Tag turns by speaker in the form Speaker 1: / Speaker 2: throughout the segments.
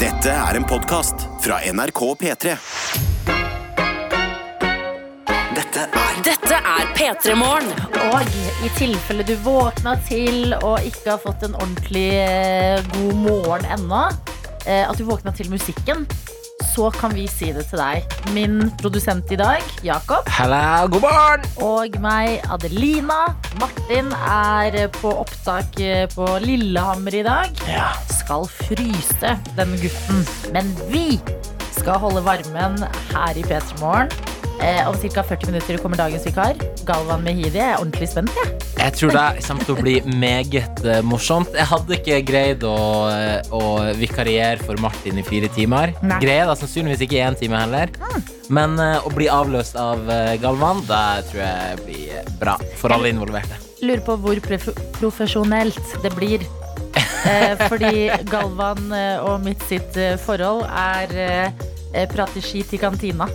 Speaker 1: Dette er en podkast fra NRK P3. Dette er
Speaker 2: Dette er P3 Morgen.
Speaker 3: Og i tilfelle du våkna til og ikke har fått en ordentlig eh, god morgen ennå, eh, at du våkna til musikken, så kan vi si det til deg. Min produsent i dag, Jakob,
Speaker 4: Halla, god morgen!
Speaker 3: og meg, Adelina. Martin er eh, på opptak eh, på Lillehammer i dag.
Speaker 4: Ja.
Speaker 3: Skal fryse, den gutten. Men vi skal holde varmen her i P3 Morgen. Eh, om ca. 40 minutter kommer dagens vikar. Galvan Mehidi. Jeg er ordentlig spent. jeg.
Speaker 4: Jeg tror det kommer til å bli meget eh, morsomt. Jeg hadde ikke greid å, eh, å vikariere for Martin i fire timer.
Speaker 3: Nei. Mm.
Speaker 4: Greia da, sannsynligvis ikke én time heller. Men eh, å bli avløst av eh, Galvan, det tror jeg blir eh, bra for alle involverte.
Speaker 3: lurer på hvor pref profesjonelt det blir. Eh, fordi Galvan eh, og mitt sitt eh, forhold er eh, eh, prater skit i kantina.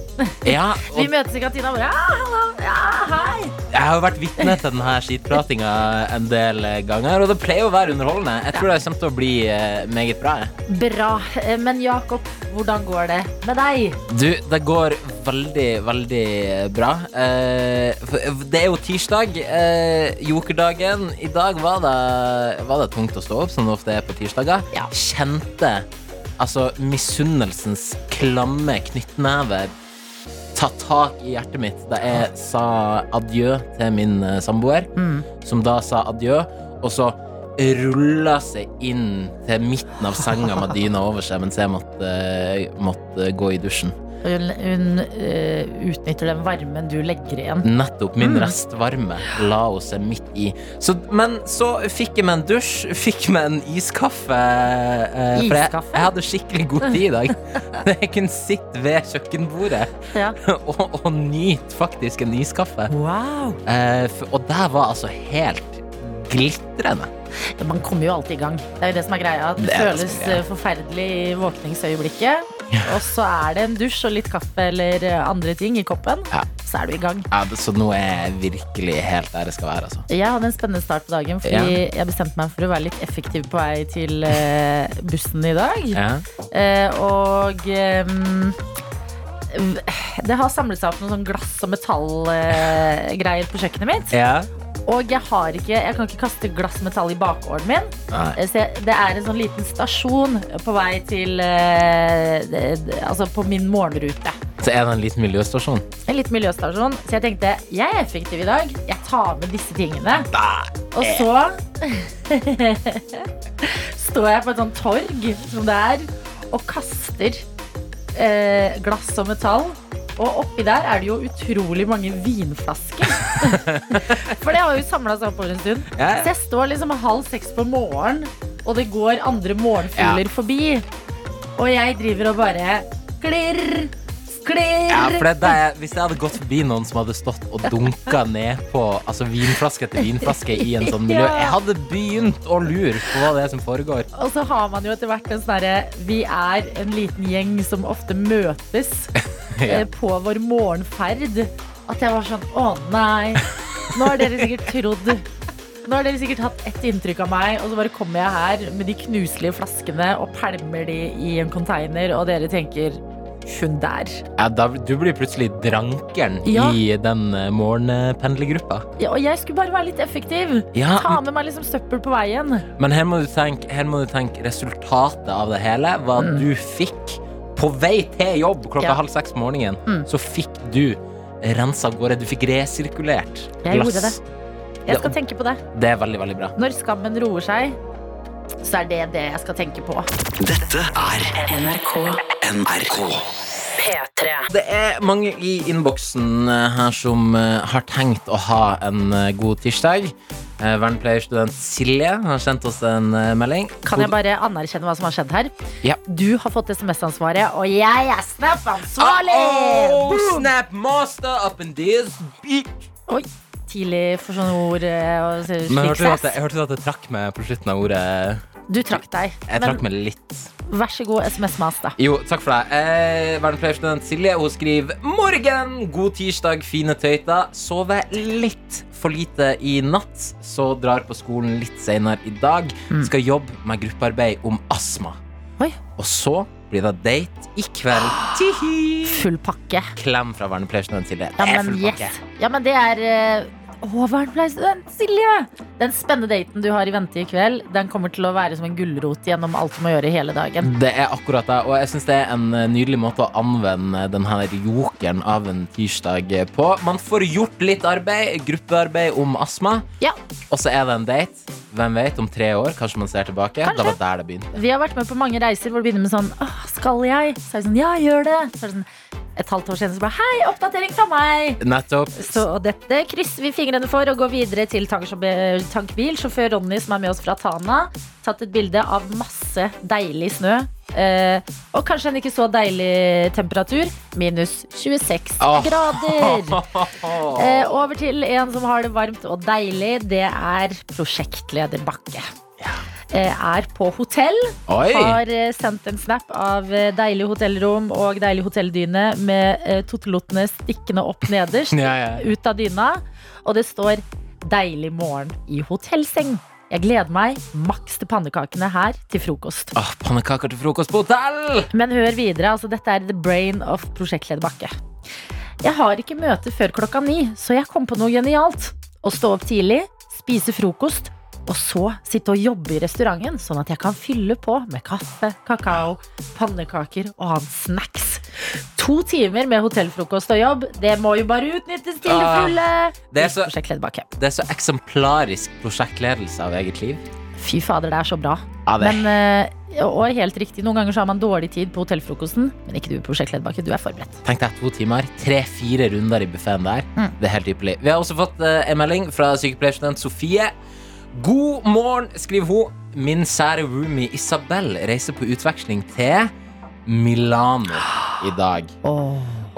Speaker 4: Ja,
Speaker 3: Vi
Speaker 4: og
Speaker 3: møtes i kantina og bare ja, hallo, ja, hei.
Speaker 4: jeg har jo vært vitne til denne skitpratinga en del eh, ganger, og det pleier å være underholdende. Jeg tror det kommer til å bli eh, meget bra. Jeg.
Speaker 3: Bra. Eh, Men Jakob, hvordan går det med deg?
Speaker 4: Du, det går veldig, veldig bra. Eh, for- det er jo tirsdag. Eh, jokerdagen. I dag var det, var det tungt å stå opp, som det ofte er på tirsdager.
Speaker 3: Ja.
Speaker 4: Kjente altså misunnelsens klamme knyttneve ta tak i hjertet mitt da jeg sa adjø til min eh, samboer,
Speaker 3: Mm.
Speaker 4: som da sa adjø, og så rulla seg inn til midten av senga med dyna over seg mens jeg måtte, eh, måtte gå i dusjen.
Speaker 3: Hun, hun eh, utnytter den varmen du legger igjen.
Speaker 4: Nettopp. Min restvarme la hun seg midt i. Så, men så fikk jeg meg en dusj, fikk meg en iskaffe. eh, For jeg,
Speaker 3: Iskaffe?
Speaker 4: jeg hadde skikkelig god tid i dag. Jeg kunne sitte ved kjøkkenbordet
Speaker 3: Ja.
Speaker 4: og, og nyte faktisk en iskaffe.
Speaker 3: Wow.
Speaker 4: Eh, f- Og det var altså helt glitrende.
Speaker 3: Man kommer jo alltid i gang. Det er jo det som er greia. Det,
Speaker 4: Det er det
Speaker 3: føles
Speaker 4: som er greia.
Speaker 3: eh, forferdelig i våkningsøyeblikket. Og så er det en dusj og litt kaffe eller eh, andre ting i koppen.
Speaker 4: Ja.
Speaker 3: Så er du i gang.
Speaker 4: Ja, det- så nå er jeg virkelig helt der jeg skal være, altså.
Speaker 3: Jeg hadde en spennende start på dagen, fordi jeg bestemte meg for å være litt effektiv på vei til eh, bussen i dag.
Speaker 4: Ja.
Speaker 3: Eh, og ehm, v- det har samlet seg opp noen sånn glass- og metallgreier på kjøkkenet mitt.
Speaker 4: ja.
Speaker 3: Og jeg, har ikke, jeg kan ikke kaste glass og metall i bakgården min.
Speaker 4: Nei.
Speaker 3: Eh, Så jeg, det er en sånn liten stasjon på vei til eh, det- det- Altså på min morgenrute.
Speaker 4: Så er det en liten miljøstasjon.
Speaker 3: En liten miljøstasjon. Så jeg tenkte jeg er effektiv i dag. Jeg tar med disse tingene. Og så står jeg på et sånt torg som det er, og kaster eh, glass og metall. Og oppi der er det jo utrolig mange vinflasker. For det har jo samla seg opp over en stund.
Speaker 4: Ja, ja.
Speaker 3: Så jeg står liksom halv seks på morgenen, og det går andre morgenfugler forbi. Og jeg driver og bare klirr, klirr.
Speaker 4: Ja, for det, er det, jeg- Hvis jeg hadde gått forbi noen som hadde stått og dunka ned på altså, vinflaske etter vinflaske i en sånn miljø,
Speaker 3: Ja.
Speaker 4: jeg hadde begynt å lure på hva det er som foregår.
Speaker 3: Og så har man jo etter hvert en sånn herre Vi er en liten gjeng som ofte møtes eh, på vår morgenferd. At jeg var sånn Å nei, nå har dere sikkert trodd Nå har dere sikkert hatt ett inntrykk av meg, og så bare kommer jeg her med de knuselige flaskene og pælmer de i en container, og dere tenker Hun der.
Speaker 4: Ja, da, du blir plutselig drankeren
Speaker 3: Ja.
Speaker 4: i den eh, morgenpendlergruppa.
Speaker 3: Ja, og jeg skulle bare være litt effektiv.
Speaker 4: Ja,
Speaker 3: Ta med meg liksom søppel på veien.
Speaker 4: Men her må du tenke, her må du tenke resultatet av det hele. Hva du fikk på vei til jobb
Speaker 3: Mm.
Speaker 4: klokka
Speaker 3: Ja.
Speaker 4: halv seks på morgenen.
Speaker 3: Mm.
Speaker 4: Så fikk du rensa av gårde. Du fikk resirkulert
Speaker 3: Jeg gjorde Jeg skal tenke på det.
Speaker 4: Det er veldig, veldig bra.
Speaker 3: Når skammen roer seg, så er det det jeg skal tenke på.
Speaker 1: Dette er NRK.
Speaker 4: Det er mange i innboksen eh, her som eh, har tenkt å ha en eh, god tirsdag. Eh, Vernepleierstudent Silje har sendt oss en eh, melding.
Speaker 3: Kan jeg bare anerkjenne hva som har skjedd her?
Speaker 4: Ja.
Speaker 3: Du har fått SMS-ansvaret, og jeg er Snap-ansvarlig!
Speaker 4: Oh,
Speaker 3: Boom!
Speaker 4: snap master up in this beat.
Speaker 3: Oi, tidlig for sånne ord. eh, og så-
Speaker 4: Men hørte du, at jeg,
Speaker 3: suksess.
Speaker 4: hørte du at jeg trakk meg på slutten av ordet?
Speaker 3: Du trakk deg.
Speaker 4: Jeg
Speaker 3: Men
Speaker 4: trakk meg litt.
Speaker 3: vær så god, SMS-mas, da.
Speaker 4: Jo, takk for det. Eh, Vernepleierstudent Silje hun skriver Morgen, god tirsdag, fine tøyta. Sover litt for lite i natt, så drar på skolen litt senere i dag. Skal jobbe med gruppearbeid om astma.
Speaker 3: Mm. Oi.
Speaker 4: Og så blir det date i kveld. Tihi.
Speaker 3: Full pakke.
Speaker 4: Klem fra vernepleierstudent Silje.
Speaker 3: Ja,
Speaker 4: Det er
Speaker 3: men,
Speaker 4: full pakke.
Speaker 3: yes. ja, men det er eh, Å, vernepleierstudent Silje! Den spennende daten du har i vente i kveld, den kommer til å være som en gulrot gjennom alt du må gjøre hele dagen.
Speaker 4: Det er akkurat det, og jeg syns det er en eh, nydelig måte å anvende den her jokeren av en tirsdag eh, på. Man får gjort litt arbeid, gruppearbeid om astma,
Speaker 3: Ja,
Speaker 4: og så er det en date. Hvem vet, om tre år, kanskje man ser tilbake. Det var der det begynte.
Speaker 3: Vi har vært med på mange reiser hvor det begynner med sånn Åh, skal jeg? Så er det sånn, ja, gjør det. Så er det sånn et halvt år senere så bare hei, oppdatering fra meg.
Speaker 4: Nettopp.
Speaker 3: Så dette krysser vi fingrene for og går videre til tanksjåfør- tankbil. Sjåfør Ronny som er med oss fra Tana. Tatt et bilde av masse deilig snø. Eh, og kanskje en ikke så deilig temperatur. Minus 26
Speaker 4: Åh.
Speaker 3: grader. Eh, over til en som har det varmt og deilig. Det er prosjektleder Bakke. Eh, er på hotell.
Speaker 4: Oi!
Speaker 3: Har eh, sendt en snap av eh, deilig hotellrom og deilig hotelldyne med eh, totelottene stikkende opp nederst
Speaker 4: Ja, ja.
Speaker 3: ut av dyna. Og det står 'deilig morgen i hotellseng'. Jeg gleder meg maks til pannekakene her til frokost.
Speaker 4: Åh, Ah, pannekaker til frokost på hotell!
Speaker 3: Men hør videre, altså dette er the brain of prosjektleder Bakke. Jeg har ikke møte før klokka ni, så jeg kom på noe genialt. Å stå opp tidlig, spise frokost, og så sitte og jobbe i restauranten, sånn at jeg kan fylle på med kaffe, kakao, pannekaker og annen snacks. To timer med hotellfrokost og jobb, det må jo bare utnyttes til det
Speaker 4: Ah,
Speaker 3: fulle.
Speaker 4: det er så-
Speaker 3: Prosjektleder Bakke.
Speaker 4: Det er så eksemplarisk prosjektledelse av eget liv.
Speaker 3: Fy fader, det er så bra.
Speaker 4: Ja, det
Speaker 3: Men, eh, og helt riktig, noen ganger så har man dårlig tid på hotellfrokosten, men ikke du, prosjektleder Bakke, du er forberedt.
Speaker 4: Tenk deg to timer, tre-fire runder i buffeen der.
Speaker 3: Mm.
Speaker 4: Det er helt ypperlig. Vi har også fått eh, en melding fra sykepleierstudent Sofie. God morgen, skriver hun. Min sære roomie Isabel reiser på utveksling til Milano i dag.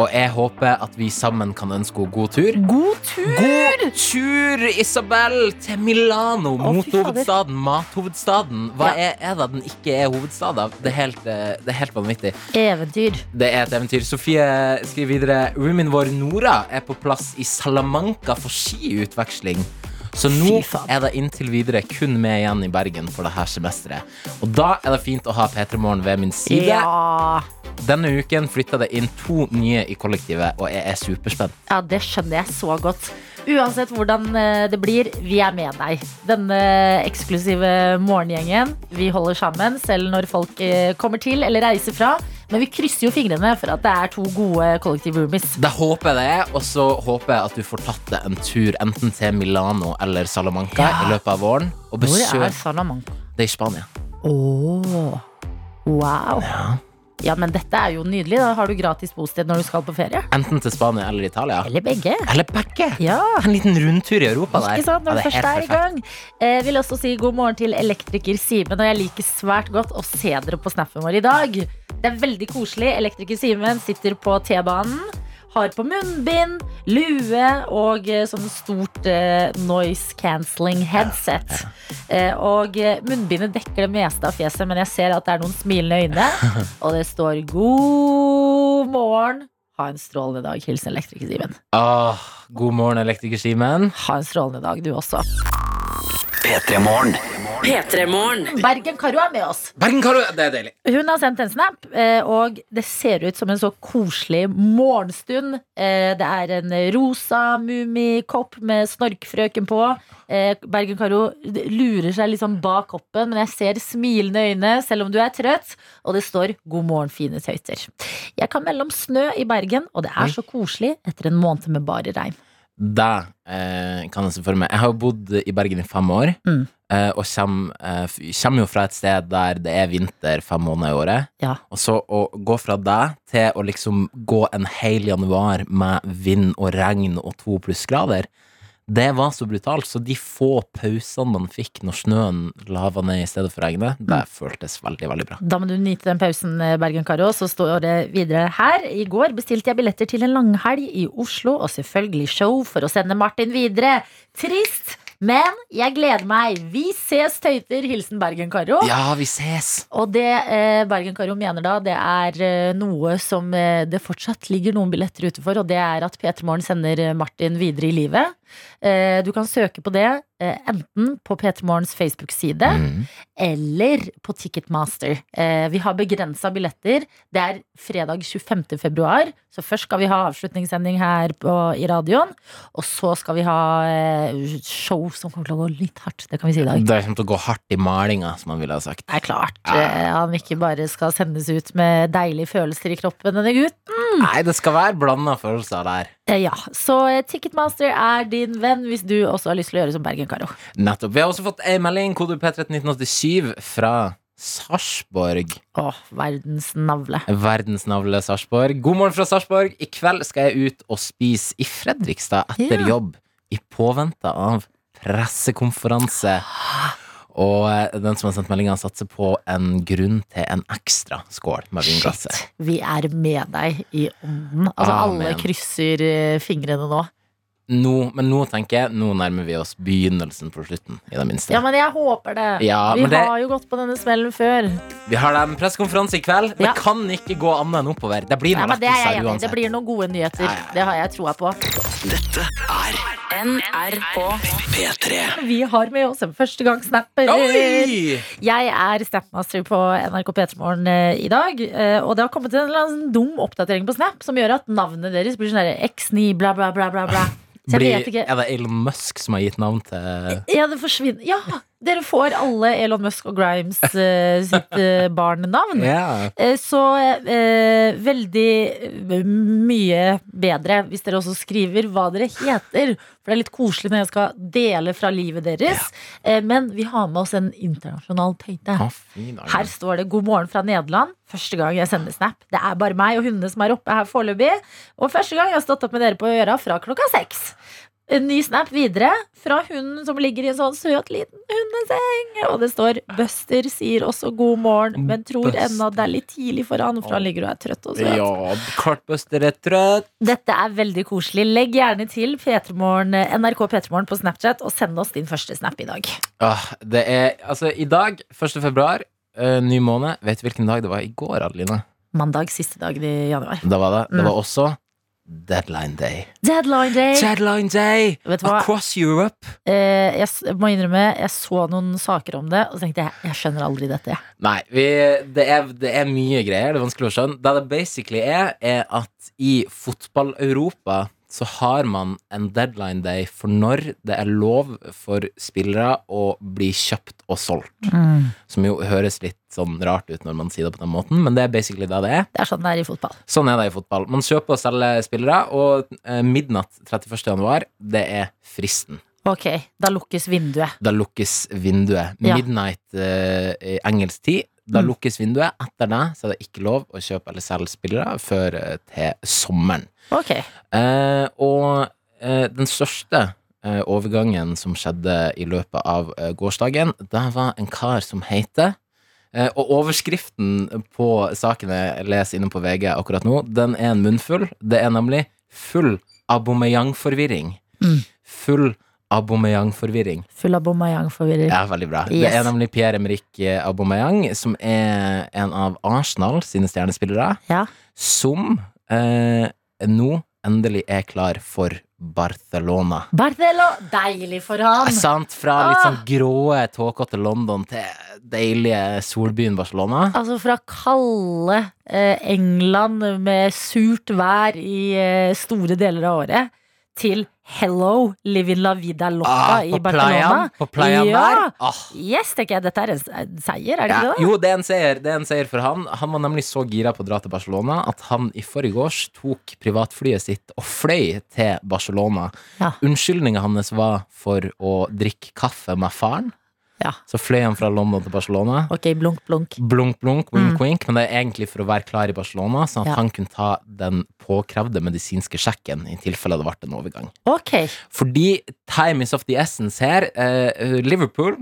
Speaker 4: Og jeg håper at vi sammen kan ønske henne god tur.
Speaker 3: God tur!
Speaker 4: God tur, Isabel, til Milano,
Speaker 3: Å,
Speaker 4: mot
Speaker 3: fy fader.
Speaker 4: hovedstaden, mathovedstaden. Hva
Speaker 3: Ja.
Speaker 4: er, er det den ikke er hovedstad av? Det er helt, eh, det er helt vanvittig.
Speaker 3: Eventyr.
Speaker 4: Det er et eventyr. Sofie skriver videre Roomien vår Nora er på plass i Salamanca for skiutveksling. Så nå
Speaker 3: Fy faen.
Speaker 4: er det inntil videre kun med igjen i Bergen for dette semesteret. Og da er det fint å ha P3 Morgen ved min side.
Speaker 3: Ja.
Speaker 4: Denne uken flytta det inn to nye i kollektivet, og jeg er superspent.
Speaker 3: ja, det skjønner jeg så godt. Uansett hvordan eh, det blir, vi er med deg. Denne eksklusive morgengjengen. Vi holder sammen selv når folk eh, kommer til eller reiser fra. Men vi krysser jo fingrene for at det er to gode kollektiv roomies.
Speaker 4: Det håper jeg det er, og så håper jeg at du får tatt deg en tur enten til Milano eller Salamanca
Speaker 3: Ja.
Speaker 4: i løpet av våren. Og
Speaker 3: Hvor
Speaker 4: besøk
Speaker 3: er Salamanca?
Speaker 4: det i Spania.
Speaker 3: Åh, Wow. Ja. men dette er jo nydelig. Da har du gratis bosted når du skal på ferie.
Speaker 4: Enten til Spania eller Italia.
Speaker 3: Eller begge.
Speaker 4: Eller begge.
Speaker 3: Ja.
Speaker 4: En liten rundtur i Europa der.
Speaker 3: Ikke sant,
Speaker 4: Ja,
Speaker 3: når
Speaker 4: det
Speaker 3: du
Speaker 4: er
Speaker 3: først
Speaker 4: helt
Speaker 3: er i
Speaker 4: perfekt.
Speaker 3: gang eh, Vil også si god morgen til elektriker Simen Og jeg liker svært godt å se dere på snappen vår i dag Det er veldig koselig Elektriker Simen sitter på T-banen Har på munnbind, lue Og eh, sånn stort eh, Noise cancelling headset eh, Og eh, munnbindet dekker det meste av fjeset Men jeg ser at det er noen smilende øyne Og det står God morgen Ha en strålende dag, hilsen elektriker Simen
Speaker 4: Åh, god morgen, elektriker Simen.
Speaker 3: Ha en strålende dag du også
Speaker 1: P3 Morgen.
Speaker 2: P3 Morgen.
Speaker 3: Bergen Karo er med oss
Speaker 4: Bergen, hva du- Det er deilig.
Speaker 3: Hun har sendt en snap, eh, og det ser ut som en så koselig morgenstund. Eh, Det er en rosa mummikopp med snorkfrøken på. Eh, Bergen-Caro lurer seg liksom bak koppen, men jeg ser smilende øyne selv om du er trøtt. Og det står 'God morgen, fine tøyter'. Jeg kan melde om snø i Bergen, og det er så koselig etter en måned med bare regn.
Speaker 4: Det eh, kan jeg se for meg. Jeg har jo bodd i Bergen i fem år,
Speaker 3: Mm.
Speaker 4: eh, og kommer, eh, f- kommer jo fra et sted der det er vinter fem måneder i året.
Speaker 3: Ja.
Speaker 4: Og så å gå fra det til å liksom gå en hel januar med vind og regn og to plussgrader, det var så brutalt. Så de få pausene man fikk når snøen lava ned i stedet for regnet,
Speaker 3: Mm.
Speaker 4: det føltes veldig, veldig bra.
Speaker 3: Da må du nyte den pausen, eh, Bergen Karo. Så står det videre her. I går bestilte jeg billetter til en langhelg i Oslo, og selvfølgelig show for å sende Martin videre. Trist, men jeg gleder meg. Vi ses, tøyter. Hilsen Bergen Karo.
Speaker 4: Ja, vi ses!
Speaker 3: Og det eh, Bergen Karo mener da, det er eh, noe som eh, det fortsatt ligger noen billetter ute for, og det er at P3 Morgen sender eh, Martin videre i livet. Eh, du kan søke på det. eh, enten på P3 Morgens Facebook-side
Speaker 5: Mm.
Speaker 3: eller på Ticketmaster. Eh, vi har begrensa billetter. Det er fredag 25. februar, så først skal vi ha avslutningssending her på, i radioen. Og så skal vi ha eh, show som kommer til å gå litt hardt. Det kan vi si i dag.
Speaker 4: Det kommer til å gå hardt i malinga, som han ville ha sagt.
Speaker 3: Det er klart eh, han ikke bare skal sendes ut med deilige følelser i kroppen, denne gutt.
Speaker 4: Nei, det skal være blanda følelser der.
Speaker 3: Eh, Ja, Så eh, Ticketmaster er din venn hvis du også har lyst til å gjøre som Bergen-Caro.
Speaker 4: Nettopp. Vi har også fått ei melding, kode P3 1987, fra Sarpsborg.
Speaker 3: Å, verdens navle.
Speaker 4: Verdensnavle Sarpsborg. God morgen fra Sarpsborg. I kveld skal jeg ut og spise i Fredrikstad etter
Speaker 3: Ja.
Speaker 4: jobb, i påvente av pressekonferanse. Og eh, den som har sendt meldinga, satser på en grunn til en ekstra skål med vinglasset.
Speaker 3: Shit, vi er med deg i ånden. Altså,
Speaker 4: Amen.
Speaker 3: alle krysser eh, fingrene nå.
Speaker 4: Nå, men nå tenker jeg, nå nærmer vi oss begynnelsen på slutten, i det minste.
Speaker 3: Ja, men jeg håper det.
Speaker 4: Ja,
Speaker 3: vi
Speaker 4: men det-
Speaker 3: har jo gått på denne smellen før.
Speaker 4: Vi har da en pressekonferanse i kveld.
Speaker 3: Ja.
Speaker 4: Det kan ikke gå annet enn oppover. Det blir
Speaker 3: Nei,
Speaker 4: noen
Speaker 3: men det, er jeg enig. i.
Speaker 4: lettelser
Speaker 3: det
Speaker 4: uansett.
Speaker 3: blir noen gode nyheter.
Speaker 4: Ja, ja, ja.
Speaker 3: Det har jeg troa på.
Speaker 1: Dette er
Speaker 2: NRK.
Speaker 1: P3.
Speaker 3: Vi har med oss en førstegangsnapper.
Speaker 4: Oi!
Speaker 3: Jeg er Snapmaster på NRK P3morgen eh, i dag. eh, Og det har kommet en eller annen dum oppdatering på Snap som gjør at navnet deres blir sånn der X9 bla, bla, bla, bla. bla. Så jeg
Speaker 4: Blir,
Speaker 3: vet ikke
Speaker 4: er det Elon Musk som har gitt navn til
Speaker 3: Ja, det forsvinner. Ja! Dere får alle Elon Musk og Grimes eh, sitt eh, barn-navn.
Speaker 4: Ja.
Speaker 3: Eh, Så eh, veldig eh, mye bedre hvis dere også skriver hva dere heter. For det er litt koselig når jeg skal dele fra livet deres. Eh, men vi har med oss en internasjonal tøyte.
Speaker 4: Å, fy dagen.
Speaker 3: Her står det 'God morgen fra Nederland'. Første gang jeg sender snap. Det er bare meg og hundene som er oppe her foreløpig. Og første gang jeg har stått opp med dere på øra fra klokka seks. En ny snap videre fra hunden som ligger i en sånn søt liten hundeseng. Og det står 'Buster sier også god morgen, men tror
Speaker 4: Buster.
Speaker 3: ennå det er litt tidlig for han, for han ligger og er trøtt og søt'.
Speaker 4: Ja, Kartbuster er trøtt.
Speaker 3: Dette er veldig koselig. Legg gjerne til Petremorgen, NRK P3morgen på Snapchat, og send oss din første snap i dag.
Speaker 4: Åh, Ah, det er Altså, i dag, 1. februar, eh, ny måned Vet du hvilken dag det var i går, Adeline?
Speaker 3: Mandag siste dagen i januar.
Speaker 4: Da var det. Det
Speaker 3: Mm.
Speaker 4: var også Deadline Day.
Speaker 3: Deadline day!
Speaker 4: Deadline Day
Speaker 3: Vet du hva?
Speaker 4: across Europe!
Speaker 3: Eh, jeg s- må innrømme, jeg så noen saker om det, og så tenkte jeg jeg skjønner aldri dette. jeg.
Speaker 4: Nei, vi, det, er, det er mye greier. Det er vanskelig å skjønne. Det det basically er, er at i fotball-Europa så har man en deadline day for når det er lov for spillere å bli kjøpt og solgt. Som jo høres litt sånn rart ut når man sier det på den måten, men det er basically det det er.
Speaker 3: Det er sånn det er i fotball.
Speaker 4: Sånn er det i fotball. Man kjøper og selger spillere, og eh, midnatt 31. januar, det er fristen.
Speaker 3: Ok, da lukkes vinduet.
Speaker 4: Da lukkes vinduet.
Speaker 3: Ja.
Speaker 4: Midnight eh, i engelsk tid. Da
Speaker 3: Mm.
Speaker 4: lukkes vinduet. Etter det så er det ikke lov å kjøpe eller selge spillere før eh, til sommeren.
Speaker 3: Ok,
Speaker 4: Eh, og eh, den største eh, overgangen som skjedde i løpet av eh, gårsdagen, det var en kar som heter eh, Og overskriften på saken jeg leser inne på VG akkurat nå, den er en munnfull. Det er nemlig full Aubameyang-forvirring.
Speaker 3: Mm.
Speaker 4: Full Aubameyang-forvirring.
Speaker 3: Full av Bomayang-forvirrer.
Speaker 4: Ja, veldig bra. Det
Speaker 3: Yes.
Speaker 4: er nemlig Pierre-Emerick eh, Aubameyang, som er en av Arsenal sine stjernespillere,
Speaker 3: Ja.
Speaker 4: som eh, nå endelig er klar for Barcelona.
Speaker 3: Barthello, deilig for han!
Speaker 4: Sant? Fra litt sånn
Speaker 3: Ah.
Speaker 4: gråe, tåkete London til deilige solbyen Barcelona.
Speaker 3: Altså fra kalde eh, England med surt vær i eh, store deler av året, til hello, living la vida loca
Speaker 4: Ah,
Speaker 3: i
Speaker 4: på
Speaker 3: Barcelona.
Speaker 4: playaen, på playaen
Speaker 3: ja.
Speaker 4: der. Ah.
Speaker 3: Yes, tenker jeg. Dette er en se- seier, er det
Speaker 4: Ja,
Speaker 3: ikke det?
Speaker 4: jo, det er en seier. Det er en seier for han. Han var nemlig så gira på å dra til Barcelona at han i forgårs tok privatflyet sitt og fløy til Barcelona.
Speaker 3: Ja.
Speaker 4: Unnskyldninga hans var for å drikke kaffe med faren.
Speaker 3: Ja.
Speaker 4: Så fløy han fra London til Barcelona.
Speaker 3: Ok, blunk, blunk.
Speaker 4: Blunk, blunk, wink,
Speaker 3: Mm.
Speaker 4: wink. Men det er egentlig for å være klar i Barcelona, sånn at
Speaker 3: Ja.
Speaker 4: han kunne ta den påkrevde medisinske sjekken i tilfelle det ble en overgang.
Speaker 3: Ok.
Speaker 4: Fordi time is of the essence her. Eh, Liverpool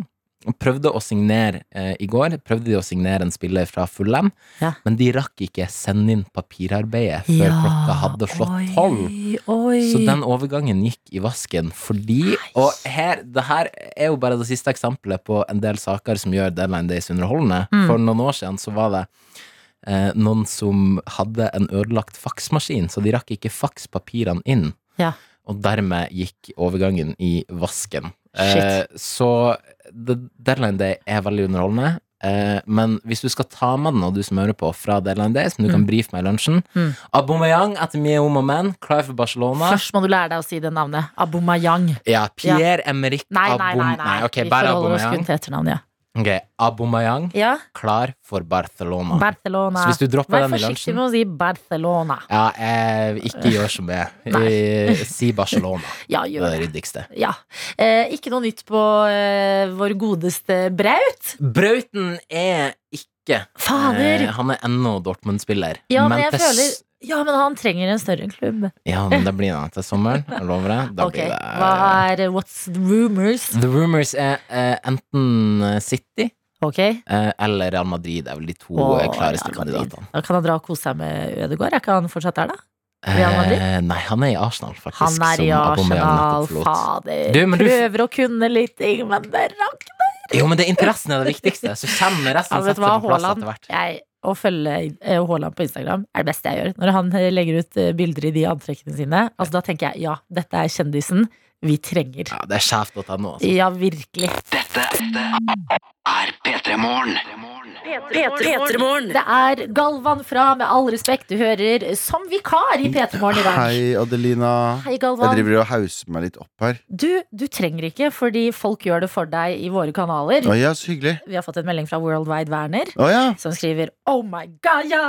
Speaker 4: prøvde å signere eh, i går Prøvde de å signere en spiller fra Fulham,
Speaker 3: Ja.
Speaker 4: men de rakk ikke sende inn papirarbeidet før klokka hadde
Speaker 3: oi,
Speaker 4: slått tolv.
Speaker 3: Oi.
Speaker 4: Så den overgangen gikk i vasken fordi Og her, det her er jo bare det siste eksempelet på en del saker som gjør Deadline Days underholdende.
Speaker 3: Mm.
Speaker 4: For noen år siden så var det eh, noen som hadde en ødelagt faksmaskin, så de rakk ikke fakspapirene inn.
Speaker 3: Ja.
Speaker 4: Og dermed gikk overgangen i vasken. Eh, så The Deadline Day er veldig underholdende. Eh, men hvis du skal ta med den, og du som hører på, fra Deadline Day, som du kan brife med i lunsjen
Speaker 3: Mm.
Speaker 4: Aubameyang etter Mie Oma Men, klar for Barcelona.
Speaker 3: Først må du lære deg å si det navnet. Abomayang.
Speaker 4: Ja, Pierre Emerick
Speaker 3: Nei, nei, nei.
Speaker 4: Aubame-
Speaker 3: nei.
Speaker 4: Nei, ok,
Speaker 3: Vi
Speaker 4: bare
Speaker 3: forholder oss kun
Speaker 4: Aubameyang.
Speaker 3: til etternavnet.
Speaker 4: Ok, Aubameyang,
Speaker 3: Ja.
Speaker 4: klar for Barcelona.
Speaker 3: Ah. Barcelona.
Speaker 4: Så hvis du dropper
Speaker 3: Vær
Speaker 4: den i
Speaker 3: forsiktig
Speaker 4: lunsjen
Speaker 3: med å si Barcelona.
Speaker 4: ja, eh, Ikke gjør som jeg.
Speaker 3: Nei.
Speaker 4: Eh, Si Barcelona.
Speaker 3: Ja,
Speaker 4: Det er
Speaker 3: gjør
Speaker 4: det
Speaker 3: det.
Speaker 4: ryddigste.
Speaker 3: Ja. Eh, ikke noe nytt på eh, vår godeste Braut.
Speaker 4: Brauten er ikke
Speaker 3: Fader!
Speaker 4: Eh, han er ennå Dortmund-spiller.
Speaker 3: Ah, Ja, men jeg
Speaker 4: til
Speaker 3: føler
Speaker 4: s-
Speaker 3: Ja, men han trenger en større klubb.
Speaker 4: Ja, men det blir han til sommeren. Jeg lover deg. Da
Speaker 3: Ok,
Speaker 4: blir det
Speaker 3: Hva er eh, What's the rumors?
Speaker 4: The Rumors er eh, enten eh, City
Speaker 3: Ok.
Speaker 4: eh, eller Real Madrid. Det er vel de to
Speaker 3: Åh,
Speaker 4: eh, klareste
Speaker 3: Real Madrid.
Speaker 4: kandidatene.
Speaker 3: Da kan han dra og kose seg med Ødegaard. Er ikke han fortsatt der, da? Real Madrid?
Speaker 4: Eh, nei, han er i Arsenal, faktisk.
Speaker 3: Han er i
Speaker 4: som Aubameyang
Speaker 3: Arsenal,
Speaker 4: nettopp forlot.
Speaker 3: fader.
Speaker 4: Du, men du-
Speaker 3: Prøver å kunne litt ting, men det rakk.
Speaker 4: Jo, men det er interessen er det viktigste. Så kommer resten
Speaker 3: Ja,
Speaker 4: seg
Speaker 3: vet du
Speaker 4: på
Speaker 3: hva,
Speaker 4: plass
Speaker 3: Haaland
Speaker 4: etter hvert.
Speaker 3: jeg, Å følge eh, Haaland på Instagram er det beste jeg gjør. Når han eh, legger ut eh, bilder i de antrekkene sine, altså, da tenker jeg ja, dette er kjendisen vi trenger.
Speaker 4: Ja, det er sjef.no. Altså.
Speaker 3: Ja, virkelig.
Speaker 1: er P3 Morgen.
Speaker 2: P3morgen.
Speaker 3: Det er Galvan fra Med all respekt, du hører som vikar i P3 Morgen i dag.
Speaker 5: Hei, Adelina.
Speaker 3: Hei,
Speaker 5: Jeg
Speaker 3: Galvan.
Speaker 5: driver og hauser meg litt opp her.
Speaker 3: Du, du trenger ikke, fordi folk gjør det for deg i våre kanaler.
Speaker 5: Å ja, så hyggelig.
Speaker 3: Vi har fått en melding fra Worldwide Werner.
Speaker 5: Å ja.
Speaker 3: Som skriver Oh my god, ja!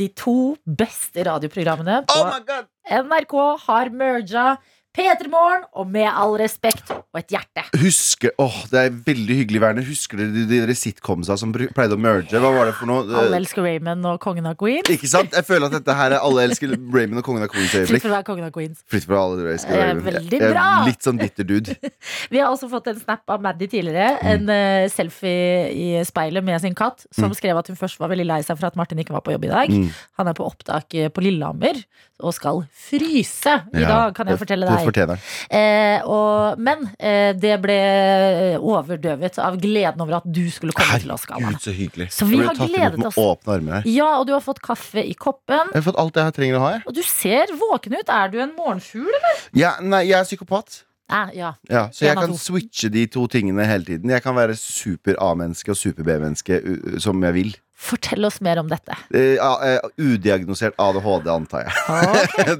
Speaker 3: De to beste radioprogrammene på
Speaker 5: god.
Speaker 3: NRK har merga P3 Morgen og Med all respekt og et hjerte.
Speaker 5: Husker, åh, Det er veldig hyggelig, Werner. Husker dere de, de der sitcomsa som bru- pleide å merge? Hva var det for noe?
Speaker 3: Alle
Speaker 5: Eh,
Speaker 3: elsker Raymond og Kongen av Queens.
Speaker 5: Ikke sant? Jeg føler at dette her er Alle elsker Raymond og Kongen av Queens
Speaker 3: Fritt
Speaker 5: øyeblikk.
Speaker 3: for å være Kongen av Queens.
Speaker 5: Flytt fra alle dere elsker
Speaker 3: Eh,
Speaker 5: Raymond. Jeg-
Speaker 3: veldig
Speaker 5: jeg er
Speaker 3: bra.
Speaker 5: Litt sånn bitter dude.
Speaker 3: Vi har også fått en snap av Maddy tidligere.
Speaker 5: Mm.
Speaker 3: En eh, selfie i speilet med sin katt, som skrev at hun først var veldig lei seg for at Martin ikke var på jobb i dag.
Speaker 5: Mm.
Speaker 3: Han er på opptak eh, på Lillehammer og skal fryse i
Speaker 5: Ja,
Speaker 3: dag, kan jeg fortelle
Speaker 5: Det
Speaker 3: deg.
Speaker 5: fortjener han.
Speaker 3: Eh, og, men eh, det ble eh, overdøvet av gleden over at du skulle komme til oss, Galvan.
Speaker 5: Herregud, så hyggelig.
Speaker 3: Så vi
Speaker 5: Jeg ble
Speaker 3: har
Speaker 5: tatt imot
Speaker 3: gledet
Speaker 5: med
Speaker 3: oss.
Speaker 5: Åpne armer her.
Speaker 3: Ja, og du har fått kaffe i koppen.
Speaker 5: Jeg har fått alt jeg trenger å ha. Jeg,
Speaker 3: Og du ser våken ut. Er du en morgenfugl?
Speaker 5: ja, nei, jeg er psykopat.
Speaker 3: Eh, ja.
Speaker 5: Ja, så jeg
Speaker 3: En av to.
Speaker 5: kan switche de to tingene hele tiden. Jeg kan være super A-menneske og super B-menneske u- u- som jeg vil.
Speaker 3: Fortell oss mer om dette.
Speaker 5: Eh, a- eh, udiagnosert ADHD, antar jeg.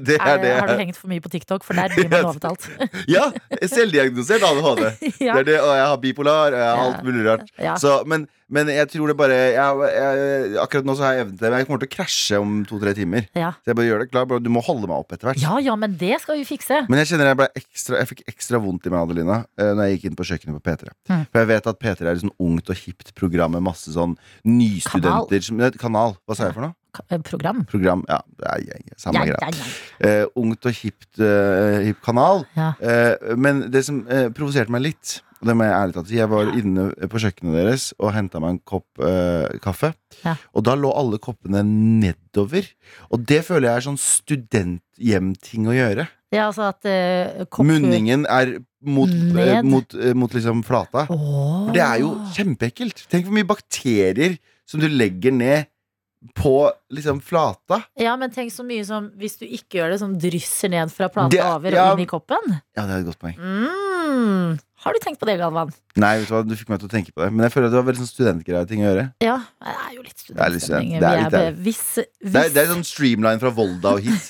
Speaker 5: det er
Speaker 3: Er,
Speaker 5: det.
Speaker 3: har du hengt for mye på TikTok? For der blir man lovet alt.
Speaker 5: Ja, selvdiagnosert ADHD. Det
Speaker 3: ja.
Speaker 5: er det, og jeg har bipolar, og jeg har
Speaker 3: Ja.
Speaker 5: alt mulig rart.
Speaker 3: Ja.
Speaker 5: Så, men, men jeg tror det bare jeg, jeg, Akkurat nå så har jeg evnen til det, men jeg kommer til å krasje om to-tre timer.
Speaker 3: Ja.
Speaker 5: Så jeg bare gjør det klar, bare, Du må holde meg opp etter hvert.
Speaker 3: ja ja, men det skal vi fikse.
Speaker 5: Men jeg kjenner jeg, ble ekstra, jeg fikk ekstra vondt i meg, Adelina, eh, når jeg gikk inn på kjøkkenet på P3.
Speaker 3: Mm.
Speaker 5: For jeg vet at P3 er et sånn ungt og hipt program med masse sånn nystudenter som, nei, Kanal. Hva sa jeg for noe?
Speaker 3: Ka- eh, Program.
Speaker 5: Program. Ja, det er, jeg- jeg- samme
Speaker 3: Ja,
Speaker 5: greia.
Speaker 3: ja, ja.
Speaker 5: Eh, ungt og hipt eh, hipp kanal.
Speaker 3: Ja.
Speaker 5: Eh, men det som eh, provoserte meg litt og det må jeg ærlig talt si, jeg var inne på kjøkkenet deres og henta meg en kopp eh, kaffe.
Speaker 3: Ja.
Speaker 5: Og da lå alle koppene nedover. Og det føler jeg er sånn studenthjemting å gjøre.
Speaker 3: Det er altså at eh, kopp-
Speaker 5: Munningen er mot, eh,
Speaker 3: Ned.
Speaker 5: mot, eh, mot liksom flata.
Speaker 3: Åh.
Speaker 5: For det er jo kjempeekkelt. Tenk hvor mye bakterier som du legger ned på liksom flata.
Speaker 3: Ja, men tenk så mye som hvis du ikke gjør det, som drysser ned fra plata
Speaker 5: Det-
Speaker 3: over
Speaker 5: ja.
Speaker 3: og inn i koppen.
Speaker 5: Ja, det er et godt poeng.
Speaker 3: Mm. Har du tenkt på det, Galvan?
Speaker 5: Nei, vet du hva, du fikk meg til å tenke på det. Men jeg føler at det var veldig sånn studentgreie ting å gjøre.
Speaker 3: Ja, det er jo litt
Speaker 5: er litt student.
Speaker 3: studentstemning.
Speaker 5: Det er litt
Speaker 3: Vi er
Speaker 5: det.
Speaker 3: be- Hvis, hvis
Speaker 5: Det er, sånn- det er sånn streamline fra Volda og hit.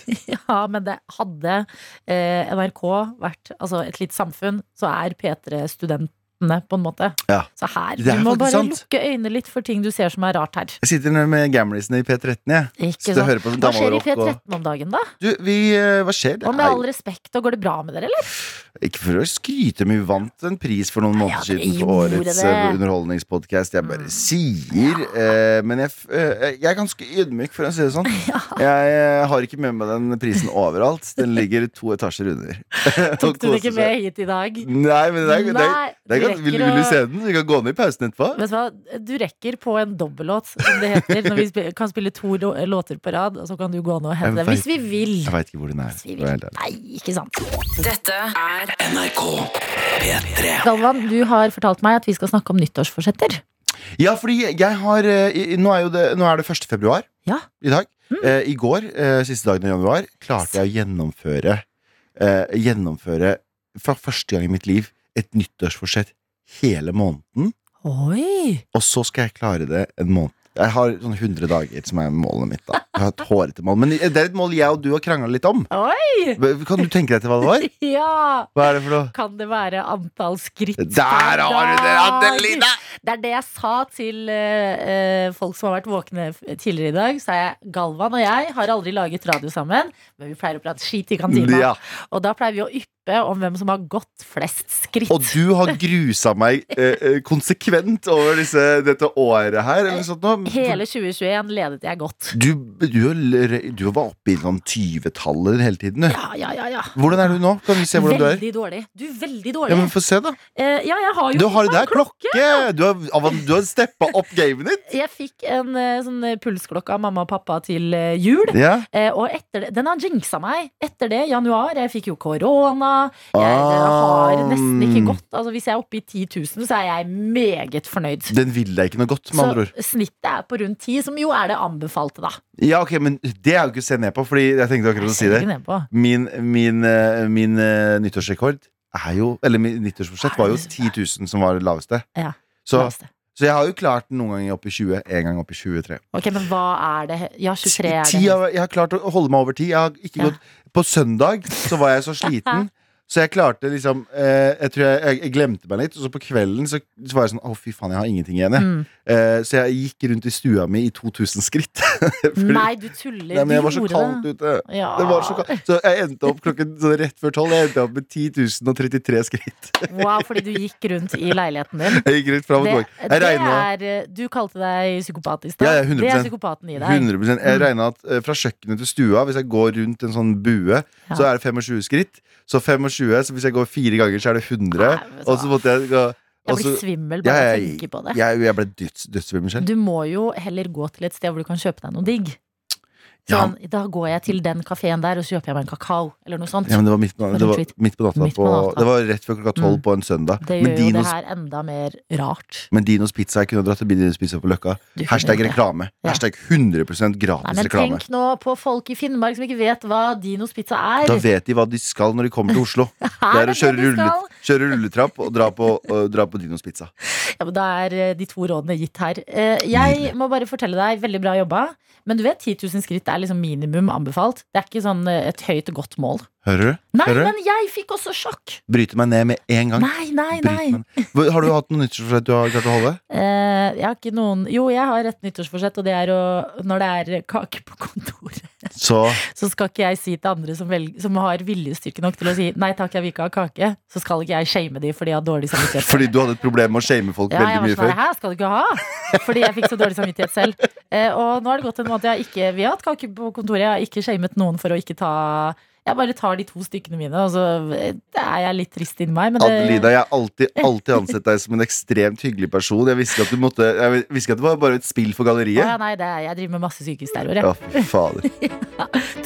Speaker 3: Ja, men det hadde eh, NRK vært altså et litt samfunn, så er P3 studentene, på en måte.
Speaker 5: Ja.
Speaker 3: Så her,
Speaker 5: Det er
Speaker 3: du må
Speaker 5: faktisk
Speaker 3: bare
Speaker 5: sant.
Speaker 3: lukke øynene litt for ting du ser som er rart her.
Speaker 5: Jeg sitter nå med gamlisene i P13, jeg.
Speaker 3: Ikke
Speaker 5: Sitter og
Speaker 3: sant?
Speaker 5: hører på sånn
Speaker 3: Hva
Speaker 5: gammel
Speaker 3: skjer i
Speaker 5: rock og
Speaker 3: P13 om dagen, da?
Speaker 5: Du, vi eh, Hva skjer? Det
Speaker 3: Og med
Speaker 5: er
Speaker 3: all
Speaker 5: jo-
Speaker 3: respekt, da går det bra med dere, eller?
Speaker 5: Ikke for å skryte, men vi vant en pris for noen måneder
Speaker 3: Ja, det
Speaker 5: siden for
Speaker 3: gjorde
Speaker 5: årets
Speaker 3: det. Mm.
Speaker 5: eh, underholdningspodkast. Jeg bare sier eh, Men jeg, f- eh, jeg er ganske ydmyk, for å si det sånn. Jeg eh, har ikke med meg den prisen overalt. Den ligger to etasjer under.
Speaker 3: Tok du det ikke med hit i dag?
Speaker 5: Nei, men det er, det er,
Speaker 3: Nei,
Speaker 5: det er,
Speaker 3: du
Speaker 5: godt. vil,
Speaker 3: rekker
Speaker 5: vil du
Speaker 3: å-
Speaker 5: se den? Vi kan gå ned i pausen etterpå.
Speaker 3: Vet du hva, du rekker på en dobbellåt, som det heter, når vi spi- kan spille to lo- låter på rad, og så kan du gå ned og hente
Speaker 5: Jeg
Speaker 3: den. Hvis vi
Speaker 5: vet-
Speaker 3: vil.
Speaker 5: Jeg veit ikke hvor den er.
Speaker 3: Hvis vi
Speaker 5: for å
Speaker 3: vil.
Speaker 5: være helt ærlig.
Speaker 3: Nei, ikke sant.
Speaker 2: Dette er
Speaker 1: NRK P3.
Speaker 3: Galvan, du har fortalt meg at vi skal snakke om nyttårsforsetter.
Speaker 5: Ja, fordi jeg har eh, i- Nå er, jo det, nå er det 1. februar
Speaker 3: Ja. Mm.
Speaker 5: i dag. Eh, I går, eh, siste dagen i januar, klarte jeg å gjennomføre eh, Gjennomføre for første gang i mitt liv et nyttårsforsett hele måneden,
Speaker 3: Oi!
Speaker 5: og så skal jeg klare det en måned. Jeg har sånn 100 dager som er målet mitt. da Jeg har et hårete mål Men det er et mål jeg og du har krangla litt om.
Speaker 3: Oi!
Speaker 5: Kan du tenke deg til hva det var?
Speaker 3: Ja!
Speaker 5: Hva er det for noe?
Speaker 3: Kan det være antall skritt per
Speaker 5: Der har du det,
Speaker 3: dag?
Speaker 5: Adelina!
Speaker 3: Det er det jeg sa til eh, eh, folk som har vært våkne f- tidligere i dag. Sa jeg, Galvan og jeg har aldri laget radio sammen, men vi pleier å prate skit i kantina.
Speaker 5: Ja.
Speaker 3: Og da pleier vi å yppe om hvem som har gått flest skritt.
Speaker 5: Og du har grusa meg eh, eh, konsekvent over disse, dette året her. Eller sånt noe.
Speaker 3: Eh, Hele 2021 ledet jeg godt.
Speaker 5: Du, du, du var oppe i sånn 20-tallet hele tiden, du.
Speaker 3: Ja, ja, ja. ja.
Speaker 5: Hvordan er du nå? Kan vi se hvordan du er?
Speaker 3: Veldig dårlig. Du er veldig dårlig.
Speaker 5: Ja, men Få se, da.
Speaker 3: Eh, ja, jeg har jo
Speaker 5: Du har
Speaker 3: fått meg
Speaker 5: det der, klokke! Du har, av- du har steppa opp gamet ditt.
Speaker 3: Jeg fikk en eh, sånn eh, pulsklokke av mamma og pappa til eh, jul.
Speaker 5: Ja.
Speaker 3: Eh, og etter det, den har jinxa meg. Etter det, januar, jeg fikk jo korona. Jeg, jeg
Speaker 5: Ah.
Speaker 3: har nesten ikke gått. Altså, hvis jeg er oppe i 10 000, så er jeg meget fornøyd.
Speaker 5: Den vil deg ikke noe godt, med andre ord.
Speaker 3: Så snittet er på rundt 10, som jo er det anbefalte, da.
Speaker 5: Ja, ok, men det er jo ikke å se ned på, Fordi jeg tenkte akkurat å si det.
Speaker 3: Ikke ned på.
Speaker 5: Min, min, eh, min eh, nyttårsrekord er jo Eller min nyttårsbudsjett var jo 10 000 som var det laveste.
Speaker 3: Ja.
Speaker 5: Så,
Speaker 3: Leste.
Speaker 5: så jeg har jo klart den noen ganger opp i 20, en gang opp i 23.
Speaker 3: Ok, men hva er det Ja, 23 er det.
Speaker 5: Ti av- jeg har klart å holde meg over ti. Jeg har ikke
Speaker 3: Ja.
Speaker 5: gått På søndag så var jeg så sliten. Så jeg klarte liksom eh, Jeg tror jeg, jeg, jeg glemte meg litt, og så på kvelden så, så var jeg sånn Å, fy faen, jeg har ingenting igjen, jeg.
Speaker 3: Mm.
Speaker 5: Eh, så jeg gikk rundt i stua mi i 2000 skritt. Fordi-
Speaker 3: Nei, du tuller.
Speaker 5: Nei, men jeg
Speaker 3: du
Speaker 5: var så
Speaker 3: gjorde
Speaker 5: kaldt
Speaker 3: det.
Speaker 5: ute.
Speaker 3: Ja.
Speaker 5: Det var så kaldt. Så jeg endte opp klokken sånn rett før tolv. Jeg endte opp med 10.033 skritt.
Speaker 3: Wow, fordi du gikk rundt i leiligheten din.
Speaker 5: Jeg gikk rett fram og
Speaker 3: Det,
Speaker 5: tilbake.
Speaker 3: det
Speaker 5: Jeg regna
Speaker 3: er eh, Du kalte deg psykopat i stad.
Speaker 5: Ja, ja, 100%.
Speaker 3: det er psykopaten i Mm. deg.
Speaker 5: 100 Jeg regna at eh, fra kjøkkenet til stua, hvis jeg går rundt en sånn bue, så er det 25 skritt. Så 25, så hvis jeg går fire ganger, så er det 100.
Speaker 3: Nei, vet du
Speaker 5: og så måtte jeg gå
Speaker 3: Jeg
Speaker 5: og
Speaker 3: blir
Speaker 5: så-
Speaker 3: svimmel
Speaker 5: altså, Ja,
Speaker 3: bare av å
Speaker 5: jeg-
Speaker 3: tenke på det.
Speaker 5: Jeg, jeg ble døds, dødsvimmel selv.
Speaker 3: Du må jo heller gå til et sted hvor du kan kjøpe deg noe digg.
Speaker 5: Ja.
Speaker 3: Sånn, Da går jeg til den kafeen der, og så kjøper jeg meg en kakao, eller noe sånt.
Speaker 5: Ja, men det var midt på, det var
Speaker 3: Retreat.
Speaker 5: midt på natta.
Speaker 3: Midt på
Speaker 5: På,
Speaker 3: natta.
Speaker 5: det var rett før klokka tolv
Speaker 3: Mm.
Speaker 5: på en søndag.
Speaker 3: det
Speaker 5: men
Speaker 3: gjør jo det
Speaker 5: Dinos,
Speaker 3: her enda mer rart.
Speaker 5: men Dinos pizza jeg kunne dratt til Dinos pizza på Løkka.
Speaker 3: Du skjønner
Speaker 5: Hashtag
Speaker 3: det.
Speaker 5: reklame.
Speaker 3: Ja.
Speaker 5: Hashtag
Speaker 3: Nei,
Speaker 5: 100 gratis
Speaker 3: men
Speaker 5: reklame.
Speaker 3: tenk nå på folk i Finnmark som ikke vet hva Dinos pizza er.
Speaker 5: Da vet de hva de skal når de kommer til Oslo. Det er å kjøre,
Speaker 3: de
Speaker 5: rulle,
Speaker 3: skal?
Speaker 5: kjøre rulletrapp og dra på, og dra på Dinos pizza.
Speaker 3: Ja, men da er eh, de to rådene gitt her. Eh, Jeg må bare fortelle deg, veldig bra jobba. Men du vet, 10 000 skritt er liksom minimum anbefalt. Det er ikke sånn eh, et høyt og godt mål.
Speaker 5: Hører du?
Speaker 3: Nei,
Speaker 5: Hører du?
Speaker 3: men jeg fikk også sjokk!
Speaker 5: Bryter meg ned med en gang.
Speaker 3: Nei, nei,
Speaker 5: Bryter
Speaker 3: nei.
Speaker 5: meg ned. Hva- Har du hatt noe nyttårsforsett du har klart å holde?
Speaker 3: Eh, jeg har ikke noen Jo, jeg har et nyttårsforsett, og det er å Når det er kake på kontoret,
Speaker 5: Så
Speaker 3: så skal ikke jeg si til andre som, velg, som har viljestyrke nok til å si 'nei takk, jeg vil ikke ha kake', så skal ikke jeg shame de fordi jeg har dårlig samvittighet.
Speaker 5: Fordi du hadde et problem med å shame folk
Speaker 3: ja, jeg
Speaker 5: veldig
Speaker 3: var
Speaker 5: mye
Speaker 3: sånn,
Speaker 5: før?
Speaker 3: Hæ, skal du ikke ha? Fordi jeg fikk så dårlig samvittighet selv. Eh, og nå har det gått en måned. Jeg har ikke, vi har hatt kake på kontoret. Jeg har ikke shamet noen for å ikke ta Jeg bare tar de to stykkene mine, og så eh, er jeg litt trist inni meg. Men det,
Speaker 5: Adelina, jeg har alltid, alltid ansett deg som en ekstremt hyggelig person. Jeg visste ikke at, du måtte, jeg visste ikke at det var bare et spill for
Speaker 3: Å ja,
Speaker 5: galleriet.
Speaker 3: nei, det, er- jeg driver med masse psykisk terror. jeg.
Speaker 5: Ja, fy fader.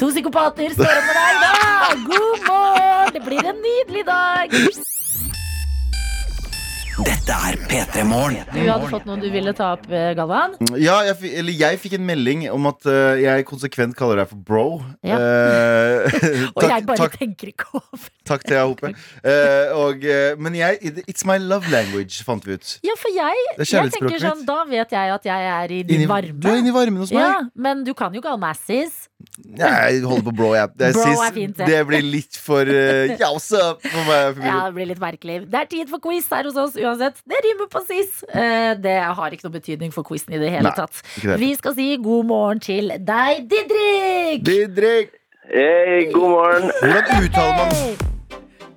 Speaker 3: To psykopater står opp med deg i dag! God morgen! Det blir en nydelig dag!
Speaker 1: Dette er P3 Morgen.
Speaker 3: Du hadde fått noe du ville ta opp, eh, Galvan.
Speaker 5: Ja, jeg, fi- eller jeg fikk en melding om at eh, jeg konsekvent kaller deg for bro.
Speaker 3: Ja.
Speaker 5: Eh,
Speaker 3: Og
Speaker 5: takk,
Speaker 3: jeg bare
Speaker 5: takk,
Speaker 3: tenker ikke over
Speaker 5: takk til deg, Hope. Eh, og, eh, men jeg it- It's my love language, fant vi ut.
Speaker 3: Ja, for jeg,
Speaker 5: Det er
Speaker 3: jeg tenker
Speaker 5: kjærlighetsspråket
Speaker 3: sånn,
Speaker 5: mitt.
Speaker 3: da vet jeg at jeg er i din
Speaker 5: Inni- Du er
Speaker 3: varme.
Speaker 5: inni varmen hos meg.
Speaker 3: Ja, men du kan jo kalle meg sis.
Speaker 5: Jeg holder på bro, jeg. Det,
Speaker 3: Bro er
Speaker 5: sis-
Speaker 3: fint, det.
Speaker 5: det blir litt for uh, Ja, også for meg. For
Speaker 3: Ja, det blir litt merkelig. Det er tid for quiz her hos oss uansett. Det rimer på sis. Eh, Det har ikke noe betydning for quizen i det hele
Speaker 5: Nei,
Speaker 3: tatt.
Speaker 5: ikke det.
Speaker 3: Vi skal si god morgen til deg, Didrik!
Speaker 5: Didrik,
Speaker 6: Hei, god morgen.
Speaker 5: hvordan uttaler man,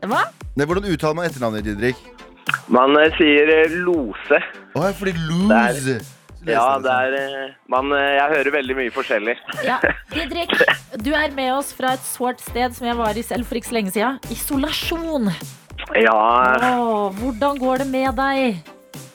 Speaker 3: Hva?
Speaker 5: nei, hvordan uttaler man etternavnet ditt, Didrik?
Speaker 6: Man eh, sier eh, lose.
Speaker 5: Å, ja, fordi lose sånn.
Speaker 6: Ja, det er eh, man, eh, Jeg hører veldig mye forskjellig.
Speaker 3: Ja, Didrik, du er med oss fra et sårt sted som jeg var i selv for ikke så lenge siden. Isolasjon.
Speaker 6: Ja
Speaker 3: Åh, hvordan går det med deg?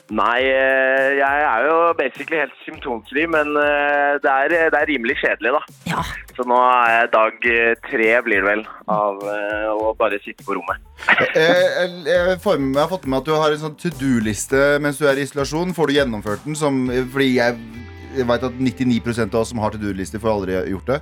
Speaker 6: Nei, eh, jeg er jo basically helt symptomfri, men eh, det er, det er rimelig kjedelig, da.
Speaker 3: Ja,
Speaker 6: Så nå er jeg dag eh, tre, blir det vel, av eh, å bare sitte på rommet.
Speaker 5: Eh, jeg, jeg, får med meg, jeg har fått med meg at du har en sånn to do-liste mens du er i isolasjon. Får du gjennomført den? Som, fordi jeg, jeg veit at 99 av oss som har to do-lister, får aldri gjort det.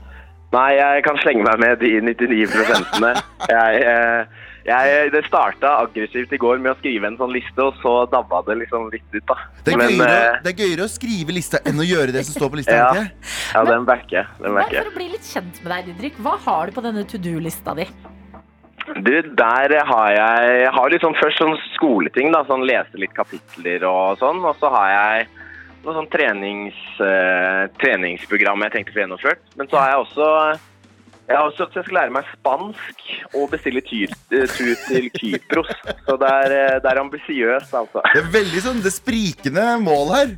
Speaker 6: Nei, jeg kan slenge meg med de 99 Jeg, eh, Jeg, det starta aggressivt i går med å skrive en sånn liste, og så dabba det liksom litt ut, da.
Speaker 5: Det er,
Speaker 6: Men
Speaker 5: gøyere,
Speaker 6: eh,
Speaker 5: det er gøyere å skrive lista enn å gjøre det som står på lista.
Speaker 6: Ja.
Speaker 5: er det ikke?
Speaker 6: ja, den backer jeg. Den
Speaker 3: Men
Speaker 6: backer jeg.
Speaker 3: for å bli litt kjent med deg, Didrik, hva har du på denne to do-lista di?
Speaker 6: Du, der har jeg, jeg har liksom først sånn skoleting, da, sånn lese litt kapitler og sånn. Og så har jeg noe sånn trenings, eh, treningsprogram jeg tenkte å få gjennomført. Men så har jeg også jeg har også at jeg skal lære meg spansk og bestille tyr, eh, tur til Kypros. Så det er, eh, det er ambisiøst, altså.
Speaker 5: Det er veldig sånn det sprikende mål her.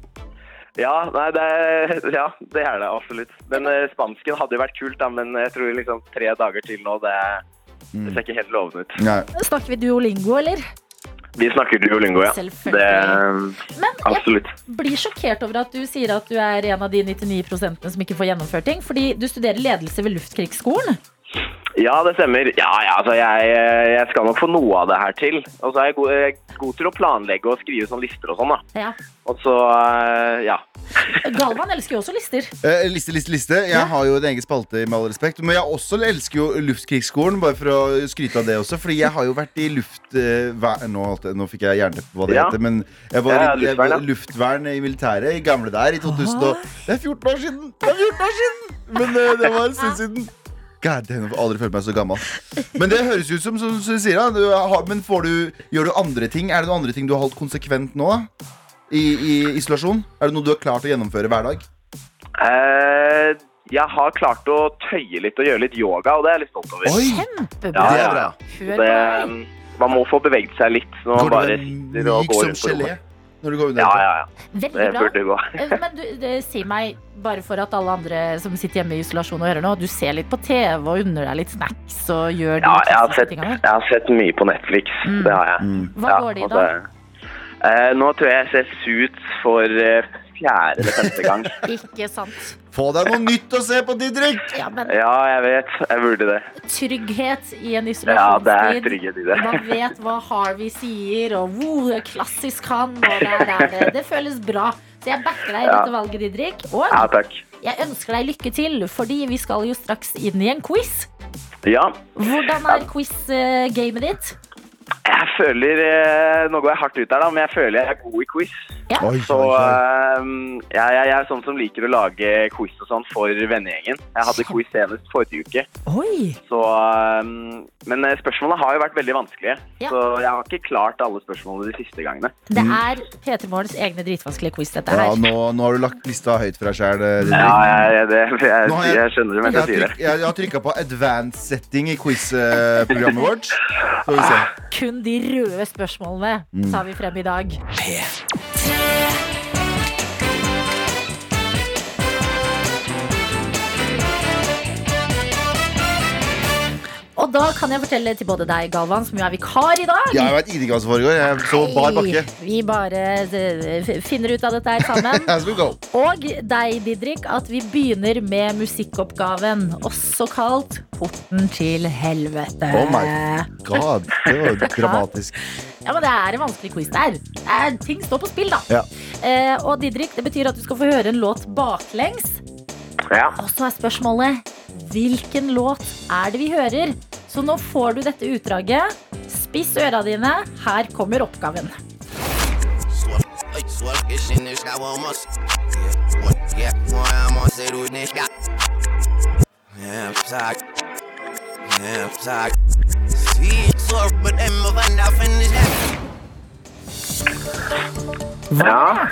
Speaker 6: Ja, nei, det er, ja, det er det absolutt. Den eh, spansken hadde jo vært kult, da, men jeg tror liksom tre dager til nå, det, det ser ikke helt lovende ut.
Speaker 5: Nei.
Speaker 3: Snakker vi duolingo, eller?
Speaker 6: Vi snakker duolingo, ja.
Speaker 3: Selvfølgelig.
Speaker 6: Det, eh,
Speaker 3: Men jeg
Speaker 6: absolutt.
Speaker 3: blir sjokkert over at du sier at du er en av de 99 som ikke får gjennomført ting, fordi du studerer ledelse ved Luftkrigsskolen.
Speaker 6: Ja, det stemmer. Ja, ja, altså jeg, jeg skal nok få noe av det her til. Og så er jeg god, jeg er god til å planlegge og skrive sånne lister og sånn, da.
Speaker 3: Ja.
Speaker 6: Og så, eh, ja.
Speaker 3: Galvan elsker jo også lister.
Speaker 5: Eh, liste, liste, liste. Jeg
Speaker 3: Ja.
Speaker 5: har jo en egen spalte, med all respekt. Men jeg også elsker jo Luftkrigsskolen, bare for å skryte av det også. Fordi jeg har jo vært i luft... eh, vær- nå, holdt jeg- nå fikk jeg jernteppe på hva det
Speaker 6: Ja.
Speaker 5: heter, men jeg var,
Speaker 6: Ja,
Speaker 5: i- jeg var
Speaker 6: luftvern,
Speaker 5: i luftvern i militæret i gamle der i 2000 og Det er 14 år siden! Det er 14 år siden! Men eh, det var en stund siden. God damn, jeg har aldri følt meg så gammel. Men det høres ut som, som du sier, da. Du har, men får du, gjør du andre ting? Er det noen andre ting du har holdt konsekvent nå? da? I, I isolasjon? Er det noe du har klart å gjennomføre hver dag?
Speaker 6: Eh, jeg har klart å tøye litt og gjøre litt yoga, og det er jeg litt stolt over.
Speaker 5: Oi!
Speaker 3: Kjempebra.
Speaker 6: Ja,
Speaker 5: Det
Speaker 6: ja,
Speaker 5: er bra.
Speaker 6: ja.
Speaker 3: Hør på
Speaker 6: Det,
Speaker 3: deg.
Speaker 6: man må få beveget seg litt når man
Speaker 5: Går
Speaker 6: bare
Speaker 5: du
Speaker 6: sitter og
Speaker 5: myk
Speaker 6: går
Speaker 5: som
Speaker 6: rundt på
Speaker 5: gelé
Speaker 6: rommet.
Speaker 5: når du går unna?
Speaker 6: Ja, ja, ja. Det
Speaker 3: Veldig bra.
Speaker 6: burde gå.
Speaker 3: Eh, Men du, det, si meg, bare for at alle andre som sitter hjemme i isolasjon og hører nå, du ser litt på TV og unner deg litt snacks og gjør de
Speaker 6: Ja, jeg har
Speaker 3: klassiske
Speaker 6: sett,
Speaker 3: tingene.
Speaker 6: jeg har sett mye på Netflix.
Speaker 3: Mm.
Speaker 6: Det har jeg.
Speaker 3: Hva
Speaker 6: Ja,
Speaker 3: går det i
Speaker 6: og
Speaker 3: da?
Speaker 6: eh, nå tror jeg jeg ser Suits for eh, fjerde eller femte gang.
Speaker 3: Ikke sant.
Speaker 5: Få deg noe nytt å se på, Didrik!
Speaker 3: Ja, men
Speaker 6: ja, jeg vet. Jeg burde det.
Speaker 3: trygghet i en
Speaker 6: Ja, det er
Speaker 3: isolasjonstid.
Speaker 6: trygghet i det.
Speaker 3: Man vet hva Harvey sier, og hvor klassisk han, og der er det. Det føles bra. Så jeg backer deg i
Speaker 6: Ja.
Speaker 3: dette valget, Didrik.
Speaker 6: Ja,
Speaker 3: Og
Speaker 6: takk.
Speaker 3: jeg ønsker deg lykke til, fordi vi skal jo straks inn i en quiz.
Speaker 6: Ja,
Speaker 3: Hvordan er quiz-gamet ditt?
Speaker 6: jeg føler eh, Nå går jeg hardt ut her, da, men jeg føler jeg er god i quiz.
Speaker 3: Ja.
Speaker 5: Oi,
Speaker 6: Så
Speaker 5: oi, oi.
Speaker 6: eh, jeg, jeg, jeg er sånn som liker å lage quiz og sånn for vennegjengen. Jeg hadde quiz
Speaker 3: Sånn.
Speaker 6: senest forrige uke.
Speaker 3: Oi!
Speaker 6: Så, eh, men eh, spørsmålene har jo vært veldig vanskelige.
Speaker 3: Ja.
Speaker 6: Så jeg har ikke klart alle spørsmålene de siste gangene.
Speaker 3: Det er P3 Morgens egne dritvanskelige quiz, dette
Speaker 5: Mm. Ja,
Speaker 3: her.
Speaker 5: nå, nå har du lagt lista høyt for deg sjæl, Didrik.
Speaker 6: Ja, jeg, jeg, det, jeg,
Speaker 5: Nå har
Speaker 6: jeg,
Speaker 5: jeg-
Speaker 6: skjønner det
Speaker 5: Jeg
Speaker 6: mens
Speaker 5: har
Speaker 6: jeg sier det.
Speaker 5: tryk- jeg har trykka på advanced setting i quiz-programmet vårt. Så får vi se.
Speaker 3: Kun de røde spørsmålene
Speaker 5: Mm.
Speaker 3: tar vi frem i dag. Og da kan jeg fortelle til både deg, Galvan, som jo er vikar i dag.
Speaker 5: Jeg vet ikke hva som foregår. Jeg er så bar bakke.
Speaker 3: Vi bare eh, f- finner ut av dette her sammen.
Speaker 5: As we go.
Speaker 3: Og deg, Didrik, at vi begynner med musikkoppgaven, også kalt Porten til helvete.
Speaker 5: Oh my god, det var jo dramatisk.
Speaker 3: Ja, men Det er en vanskelig quiz der. Det er, ting står på spill, da.
Speaker 5: Ja.
Speaker 3: Eh, og Didrik, det betyr at du skal få høre en låt baklengs.
Speaker 6: Ja.
Speaker 3: Og så er spørsmålet hvilken låt er det vi hører? Så nå får du dette utdraget. Spiss øra dine. Her kommer oppgaven.
Speaker 7: Swerve this shit, nigga. Got one more. Yeah, boy, yeah, boy, I'm on say dude, nigga. Yeah, I'm tired. Yeah, I'm tired. See, swerve, but I'm a van, I finish that.
Speaker 6: Ja.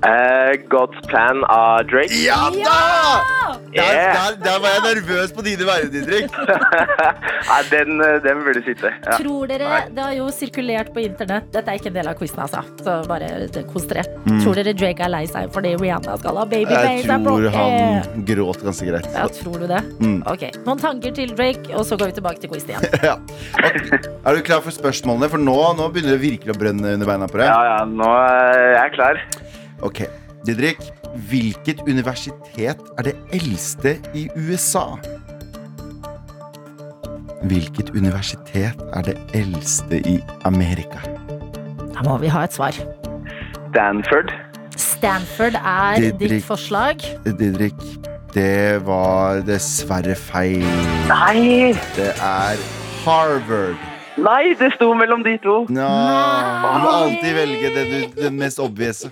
Speaker 6: Eh, God's Plan av Drake.
Speaker 5: Ja da! Der,
Speaker 6: Yeah.
Speaker 5: der, der var jeg nervøs på dine vegne, Didrik.
Speaker 6: Nei, den, eh, den burde sitte. Ja.
Speaker 3: Tror dere, Det har jo sirkulert på internett. Dette er ikke en del av quizen, altså. Så bare kos dere. Tror dere Drake er lei seg fordi Rihanna skal ha
Speaker 5: Mm. Jeg
Speaker 3: babyface? er
Speaker 5: tror
Speaker 3: blokket?
Speaker 5: han Mm. gråt ganske greit.
Speaker 3: Ja, tror du det? Ok, Noen tanker til Drake, og så går vi tilbake til quizen igjen.
Speaker 5: Ja. Ok, Er du klar for spørsmålene? For nå, nå begynner det virkelig å brenne under beina på deg.
Speaker 6: Ja, ja, nå eh, jeg er jeg klar.
Speaker 5: Ok, Didrik. Hvilket universitet er det eldste i USA? Hvilket universitet er det eldste i Amerika?
Speaker 3: Da må vi ha et svar.
Speaker 6: Danford.
Speaker 3: Stanford er
Speaker 5: Didrik.
Speaker 3: ditt forslag.
Speaker 5: Didrik, det var dessverre feil.
Speaker 6: Nei!
Speaker 5: Det er Harvard.
Speaker 8: Nei, det sto mellom de to.
Speaker 5: Nja, Du må alltid velge det, du, det mest obvious.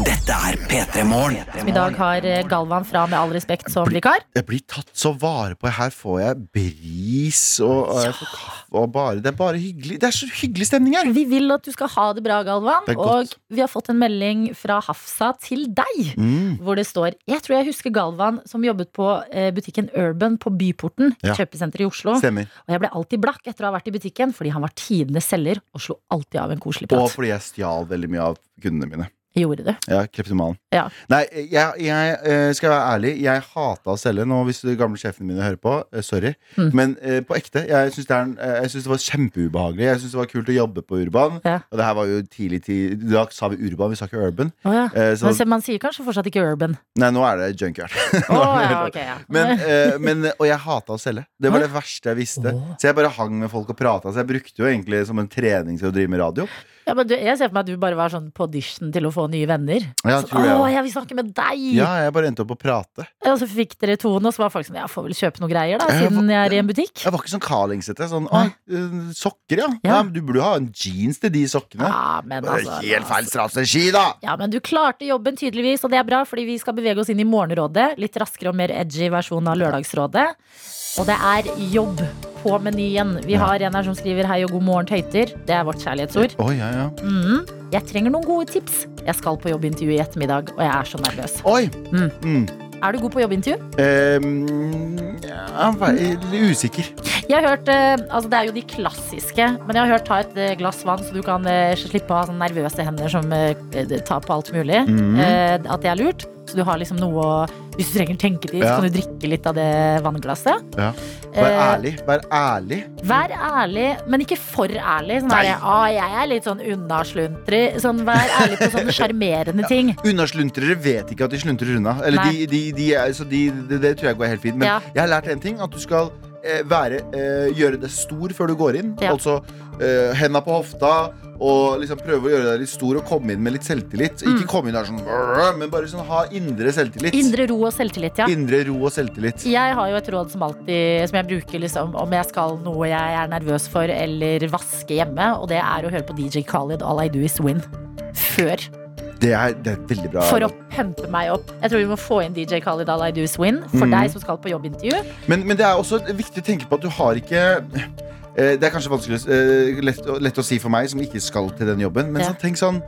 Speaker 1: Dette er P3 Morgen.
Speaker 3: I dag har eh, Galvan fra Med all respekt som vikar.
Speaker 5: Jeg blir tatt så vare på. Her får jeg bris og, og jeg får kaffe og bare Det er bare hyggelig. Det er så hyggelig stemning her.
Speaker 3: Vi vil at du skal ha det bra, Galvan.
Speaker 5: Det er
Speaker 3: Og
Speaker 5: godt.
Speaker 3: vi har fått en melding fra Hafsa til deg.
Speaker 5: Mm.
Speaker 3: Hvor det står Jeg tror jeg husker Galvan som jobbet på eh, butikken Urban på Byporten.
Speaker 5: Ja.
Speaker 3: Kjøpesenteret i Oslo.
Speaker 5: Stemmer.
Speaker 3: Og jeg ble alltid blakk etter å ha vært i butikken, fordi han var tidenes selger og slo alltid av en koselig
Speaker 5: Og
Speaker 3: prat.
Speaker 5: fordi jeg stjal veldig mye av kundene mine.
Speaker 3: Gjorde du?
Speaker 5: Ja, kleptoman.
Speaker 3: Ja.
Speaker 5: Nei, jeg, jeg eh, skal være ærlig. Jeg hata å selge nå, hvis de gamle sjefene mine hører på. eh, Sorry.
Speaker 3: Mm.
Speaker 5: Men eh, på ekte. Jeg syns det, er en- eh, jeg synes det var kjempeubehagelig. Jeg syns det var kult å jobbe på Urban.
Speaker 3: Ja.
Speaker 5: Og det her var jo tidlig tid. Da sa vi Urban, vi sa ikke Urban.
Speaker 3: Å ja.
Speaker 5: Eh, så,
Speaker 3: Men se, man sier kanskje fortsatt ikke urban.
Speaker 5: nei, nå er det junkyard.
Speaker 3: Å ja, ok, ja.
Speaker 5: Men, eh, men, og jeg hata å selge. Det var
Speaker 3: Hæ?
Speaker 5: det verste jeg visste.
Speaker 3: Åh.
Speaker 5: Så jeg bare hang med folk og prata. Så jeg brukte jo egentlig som en trening til å drive med radio.
Speaker 3: ja, men du, jeg ser for meg at du bare var sånn på audition til å få nye venner.
Speaker 5: Ja,
Speaker 3: Sånn,
Speaker 5: tror jeg.
Speaker 3: Å, jeg vil snakke med deg!
Speaker 5: Ja, jeg bare endte opp å prate.
Speaker 3: Og så fikk dere tonen, og så var folk sånn Jeg får vel kjøpe noen greier, da,
Speaker 5: Ja, jeg var-
Speaker 3: siden jeg er i en butikk.
Speaker 5: Jeg var ikke sånn Carlingsete. Sånn,
Speaker 3: Nei.
Speaker 5: «Oi, eh, sokker, ja.
Speaker 3: Ja.
Speaker 5: Nei, men du burde jo ha en jeans til de sokkene.
Speaker 3: Ja, men
Speaker 5: Det er
Speaker 3: altså
Speaker 5: Helt feil strategi, da!
Speaker 3: Ja, men du klarte jobben tydeligvis, og det er bra, fordi vi skal bevege oss inn i Morgenrådet. Litt raskere og mer edgy versjon av Lørdagsrådet. Og det er jobb på menyen. Vi har en her som skriver 'Hei og god morgen, tøyter'. Det er vårt kjærlighetsord.
Speaker 5: Å, ja, ja.
Speaker 3: Mhm. Jeg trenger noen gode tips. Jeg skal på jobbintervju i ettermiddag, og jeg er så nervøs.
Speaker 5: Oi!
Speaker 3: Mm.
Speaker 5: Mm.
Speaker 3: Er du god på jobbintervju?
Speaker 5: Ehm, ja, jeg er litt usikker.
Speaker 3: Jeg har hørt, eh, altså Det er jo de klassiske, men jeg har hørt ta et eh, glass vann, så du kan eh, slippe å ha sånne nervøse hender som eh, tar på alt mulig.
Speaker 5: Mm.
Speaker 3: eh, at det er lurt. Så du har liksom noe å Hvis du trenger tenketid,
Speaker 5: Ja.
Speaker 3: så kan du drikke litt av det vannglasset.
Speaker 5: Ja. Vær
Speaker 3: Eh,
Speaker 5: ærlig. Vær ærlig.
Speaker 3: vær ærlig, men ikke for ærlig. Sånn
Speaker 5: Nei.
Speaker 3: der, ah, jeg er litt sånn unnasluntrig. Sånn, vær ærlig på sånne sjarmerende ting.
Speaker 5: Unnasluntrere vet ikke at de sluntrer unna. Eller
Speaker 3: Nei.
Speaker 5: de, de, de, er- så de, det, det tror jeg går helt fint. Men
Speaker 3: Ja.
Speaker 5: jeg har lært en ting. At du skal eh, være, eh, gjøre deg stor før du går inn.
Speaker 3: Ja.
Speaker 5: Altså eh, henda på hofta. Og liksom prøve å gjøre deg litt stor og komme inn med litt selvtillit.
Speaker 3: Mm.
Speaker 5: Ikke komme inn der sånn "Brr", Men bare sånn ha indre selvtillit.
Speaker 3: Indre ro og selvtillit, ja.
Speaker 5: Indre ro og selvtillit.
Speaker 3: Jeg har jo et råd som alltid Som jeg bruker liksom, om jeg skal noe jeg er nervøs for, eller vaske hjemme, og det er å høre på DJ Khaled 'All I Do Is Win' før.
Speaker 5: Det er, det er et veldig bra.
Speaker 3: For å pumpe meg opp. Jeg tror vi må få inn DJ Khaled 'All I Do Is Win' for
Speaker 5: Mm.
Speaker 3: deg som skal på jobbintervju.
Speaker 5: Men, men det er også viktig å tenke på at du har ikke eh, Det er kanskje vanskelig, eh, lett, å- lett å si for meg som ikke skal til den jobben, men
Speaker 3: Ja.
Speaker 5: så tenk sånn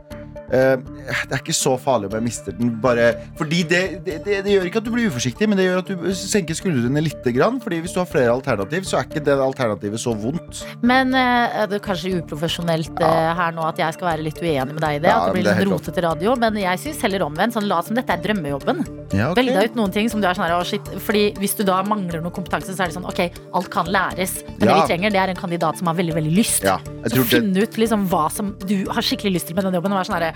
Speaker 5: eh, Det er ikke så farlig om jeg mister den. Bare, fordi det, det, det, det gjør ikke at du blir uforsiktig, men det gjør at du senker skuldrene litt. Grann, fordi hvis du har flere alternativ, så er ikke det alternativet så vondt.
Speaker 3: Men eh, er det er kanskje uprofesjonelt eh, her nå at jeg skal være litt uenig med deg i det.
Speaker 5: Ja,
Speaker 3: at det
Speaker 5: men
Speaker 3: blir
Speaker 5: det er
Speaker 3: litt
Speaker 5: helt
Speaker 3: rotete radio. Men jeg syns heller omvendt. Sånn, la som dette er drømmejobben.
Speaker 5: Ja, ok.
Speaker 3: Velg deg ut noen ting som du er sånn her, å shit. Fordi hvis du da mangler noe kompetanse, så er det sånn ok, alt kan læres. Men det
Speaker 5: Ja.
Speaker 3: vi trenger, det er en kandidat som har veldig, veldig lyst.
Speaker 5: Ja, jeg
Speaker 3: Så
Speaker 5: tror det,
Speaker 3: finn ut liksom hva som du har skikkelig lyst til med den jobben. Og være sånn herre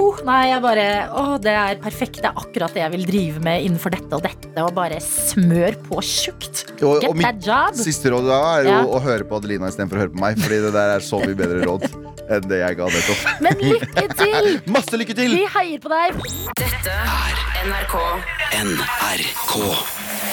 Speaker 3: oh, Nei, jeg bare Å, det er perfekt. Det er akkurat det jeg vil drive med innenfor dette og dette. Og bare smør på tjukt.
Speaker 5: og,
Speaker 3: Get
Speaker 5: og mitt
Speaker 3: that job.
Speaker 5: siste råd da er jo
Speaker 3: Ja.
Speaker 5: å høre på Adelina istedenfor å høre på meg, Fordi det der er så mye bedre råd enn det jeg ga nettopp.
Speaker 3: Men lykke til!
Speaker 5: Masse lykke til!
Speaker 3: Vi heier på deg.
Speaker 2: Dette er NRK
Speaker 1: NRK.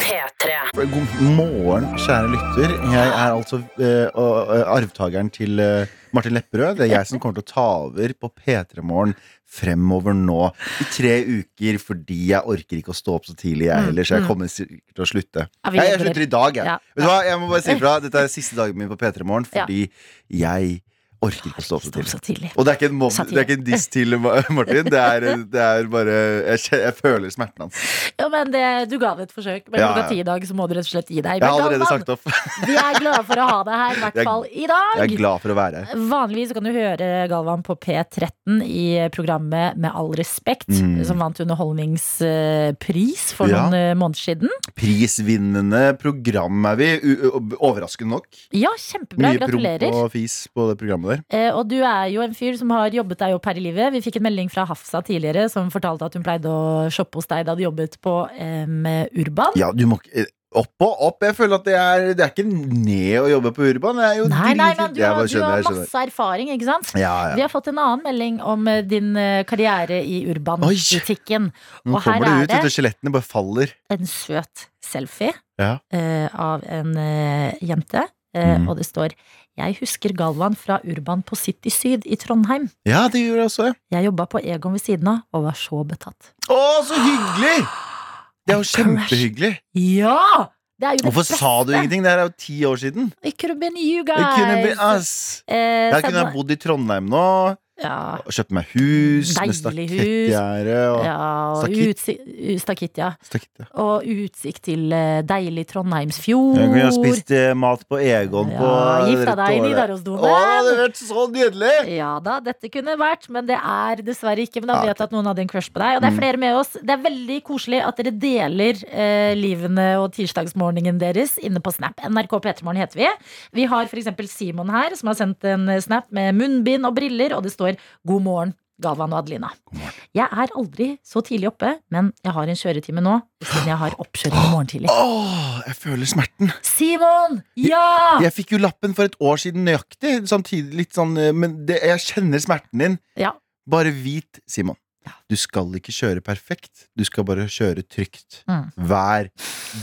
Speaker 2: P3.
Speaker 5: God morgen, kjære lytter. Jeg er altså eh, og- og arvtakeren til eh, Martin Lepperød. Det er jeg som kommer til å ta over på P3 Morgen fremover nå i tre uker, fordi jeg orker ikke å stå opp så tidlig, jeg heller, så jeg kommer sikkert til å slutte.
Speaker 3: Ja, Mm, vi
Speaker 5: Nei, jeg
Speaker 3: legger
Speaker 5: slutter i dag, jeg.
Speaker 3: Ja.
Speaker 5: Vet du hva, jeg må bare si ifra. Dette er siste dagen min på P3 Morgen,
Speaker 3: Ja.
Speaker 5: fordi jeg orker ikke å stå opp så
Speaker 3: Stopp
Speaker 5: tidlig.
Speaker 3: så tidlig.
Speaker 5: Og det er ikke en, mobb,
Speaker 3: Satire.
Speaker 5: det er ikke en diss til Ma- Martin. Det er, det er bare Jeg, kje- jeg føler smerten hans.
Speaker 3: Ja, men det, Du ga det et forsøk, men
Speaker 5: Ja,
Speaker 3: klokka
Speaker 5: ja.
Speaker 3: ti i dag så må du rett og slett gi deg.
Speaker 5: Jeg
Speaker 3: Men
Speaker 5: har allerede
Speaker 3: Galvan,
Speaker 5: sagt opp.
Speaker 3: Vi er glade for å ha deg her, i
Speaker 5: Jeg er-
Speaker 3: hvert fall i
Speaker 5: Jeg er
Speaker 3: dag.
Speaker 5: glad for å være her.
Speaker 3: Vanligvis så kan du høre Galvan på P13 i programmet Med all respekt,
Speaker 5: Mm.
Speaker 3: som vant underholdningspris for
Speaker 5: Ja.
Speaker 3: noen eh, måneder siden.
Speaker 5: prisvinnende program er vi. U u- overraskende nok.
Speaker 3: Ja, kjempebra.
Speaker 5: Mye promp
Speaker 3: Gratulerer.
Speaker 5: og fis på det programmet der.
Speaker 3: Eh, Og du er jo en fyr som har jobbet deg opp her i livet. Vi fikk en melding fra Hafsa tidligere som fortalte at hun pleide å shoppe hos deg da du jobbet på eh, Urban.
Speaker 5: Ja, du må ikke eh, opp og opp. Jeg føler at det er, det er ikke ned å jobbe på Urban. Jeg er jo
Speaker 3: Nei, nei, men
Speaker 5: dritflink.
Speaker 3: du
Speaker 5: Jeg
Speaker 3: har,
Speaker 5: bare
Speaker 3: du
Speaker 5: skjønner,
Speaker 3: har
Speaker 5: jeg skjønner.
Speaker 3: masse erfaring, ikke sant?
Speaker 5: Ja,
Speaker 3: Vi
Speaker 5: ja.
Speaker 3: har fått en annen melding om eh, din eh, karriere i Urban-butikken.
Speaker 5: Nå
Speaker 3: Og her
Speaker 5: kommer det
Speaker 3: er
Speaker 5: ut, vet
Speaker 3: det
Speaker 5: du. Skjelettene bare faller.
Speaker 3: en søt selfie
Speaker 5: Ja.
Speaker 3: eh, av en eh, jente eh,
Speaker 5: Mm.
Speaker 3: og det står 'Jeg husker Galvan fra Urban på City Syd i Trondheim'.
Speaker 5: Ja, det gjorde jeg også. ja.
Speaker 3: Jeg jobba på Egon ved siden av og var så betatt.
Speaker 5: Å, så hyggelig! Det er jo kjempehyggelig.
Speaker 3: Ja! Det er jo det
Speaker 5: Hvorfor
Speaker 3: beste.
Speaker 5: sa du ingenting? Det her er jo ti år siden.
Speaker 3: It could have been you
Speaker 5: Det kunne bli,
Speaker 3: guys.
Speaker 5: ass.
Speaker 3: Eh,
Speaker 5: Jeg
Speaker 3: send
Speaker 5: kunne ha
Speaker 3: meg-
Speaker 5: bodd i Trondheim nå.
Speaker 3: ja,
Speaker 5: Og kjøpt meg hus med
Speaker 3: Deilig hus.
Speaker 5: stakettgjerde. og-
Speaker 3: ja, og
Speaker 5: Stakitt.
Speaker 3: utsi- stakitt, ja.
Speaker 5: Stakettgjerde.
Speaker 3: Og utsikt til eh, deilig Trondheimsfjord.
Speaker 5: Jeg kunne ha spist eh, mat på Egon på
Speaker 3: Ja, gifta
Speaker 5: rett
Speaker 3: deg i
Speaker 5: over der. Å, det
Speaker 3: Nidarosdomen.
Speaker 5: hadde vært så nydelig!
Speaker 3: Ja da, dette kunne vært, men det er dessverre ikke. Men da
Speaker 5: Ja,
Speaker 3: vet jeg at noen hadde en crush på deg. Og det er
Speaker 5: Mm.
Speaker 3: flere med oss. Det er veldig koselig at dere deler eh, livene og tirsdagsmorgenen deres inne på Snap. NRK P3morgen heter vi. Vi har f.eks. Simon her, som har sendt en eh, Snap med munnbind og briller, og det står 'God morgen, Galvan og Adelina'. Jeg er aldri så tidlig oppe, men jeg har en kjøretime nå, siden jeg har oppkjøring i morgen tidlig.
Speaker 5: Åh, jeg føler smerten.
Speaker 3: Simon! Ja!
Speaker 5: Jeg fikk jo lappen for et år siden nøyaktig, samtidig litt sånn eh, Men det, jeg kjenner smerten din.
Speaker 3: Ja.
Speaker 5: Bare vit, Simon.
Speaker 3: Ja.
Speaker 5: Du skal ikke kjøre perfekt, du skal bare kjøre trygt.
Speaker 3: Mm.
Speaker 5: Vær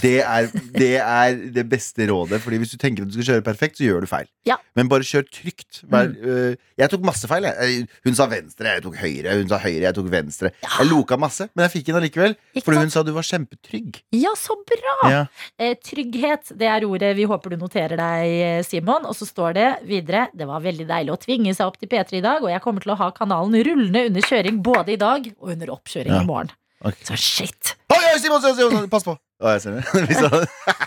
Speaker 5: det er, det er det beste rådet, Fordi hvis du tenker at du skal kjøre perfekt, så gjør du feil.
Speaker 3: Ja. Mm.
Speaker 5: Men bare kjør trygt. Vær, øh, jeg tok masse feil. Jeg. Eh, Hun sa venstre, jeg tok høyre. Hun sa høyre, jeg tok venstre. Jeg loka masse, men jeg fikk den allikevel.
Speaker 3: Ikke
Speaker 5: Fordi
Speaker 3: sant?
Speaker 5: hun sa du var kjempetrygg.
Speaker 3: Ja, så bra!
Speaker 5: Ja.
Speaker 3: Eh, trygghet, det er ordet vi håper du noterer deg, eh, Simon. Og så står det videre Det var veldig deilig å tvinge seg opp til P3 i dag, og jeg kommer til å ha kanalen rullende under kjøring både i dag og under oppkjøring
Speaker 5: Ja.
Speaker 3: i morgen.
Speaker 5: Ok.
Speaker 3: Så shit!
Speaker 5: Oi, oi, Simon, Simon, Simon, pass på! Å, jeg ser det. Vi sa det.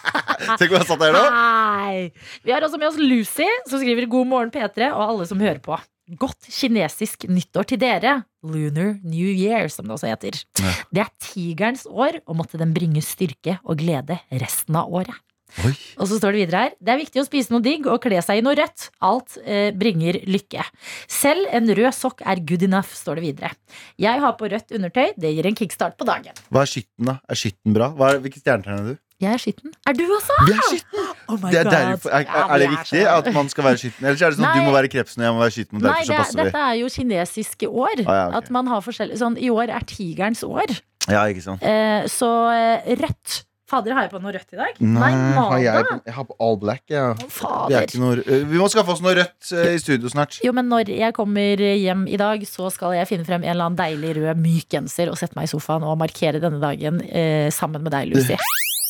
Speaker 5: Tenk om jeg satt der nå.
Speaker 3: Hei! Vi har også med oss Lucy, som skriver 'God morgen, P3', og alle som hører på. Godt kinesisk nyttår til dere. Lunar New Year, som det også heter.
Speaker 5: Ja.
Speaker 3: Det er tigerens år, og måtte den bringe styrke og glede resten av året.
Speaker 5: Oi.
Speaker 3: Og så står det videre her Det er viktig å spise noe digg og kle seg i noe rødt. Alt eh, bringer lykke. Selv en rød sokk er good enough, står det videre. Jeg har på rødt undertøy. Det gir en kickstart på dagen.
Speaker 5: Hva er skytten, da? Er skytten bra? Hva er, hvilke stjernetegn er du?
Speaker 3: Jeg er skitten. Er du også?
Speaker 5: Vi er skytten!
Speaker 3: Oh my
Speaker 5: Det er,
Speaker 3: God.
Speaker 5: derfor, er,
Speaker 3: Ja,
Speaker 5: er er det
Speaker 3: vi
Speaker 5: viktig
Speaker 3: så-
Speaker 5: at man skal være skytten? Eller er det sånn at
Speaker 3: Nei.
Speaker 5: du må være krepsen og jeg må være skytten? Og
Speaker 3: Nei,
Speaker 5: derfor
Speaker 3: det,
Speaker 5: så
Speaker 3: er-
Speaker 5: passer vi
Speaker 3: dette er jo kinesiske år.
Speaker 5: Ah, ja, ok.
Speaker 3: At man har forskjellige Sånn, i år er tigerens år.
Speaker 5: Ja, ikke sant
Speaker 3: Eh, så eh, rødt Fader, har jeg på noe rødt i dag?
Speaker 5: har jeg,
Speaker 3: nada.
Speaker 5: på- jeg har på all black. Ja. Det er
Speaker 3: Fader.
Speaker 5: ikke noe, øh, vi må skaffe oss noe rødt øh, i studio snart.
Speaker 3: Jo, men når jeg kommer hjem i dag, så skal jeg finne frem en eller annen deilig rød myk genser og sette meg i sofaen og markere denne dagen eh, sammen med deg, Lucy.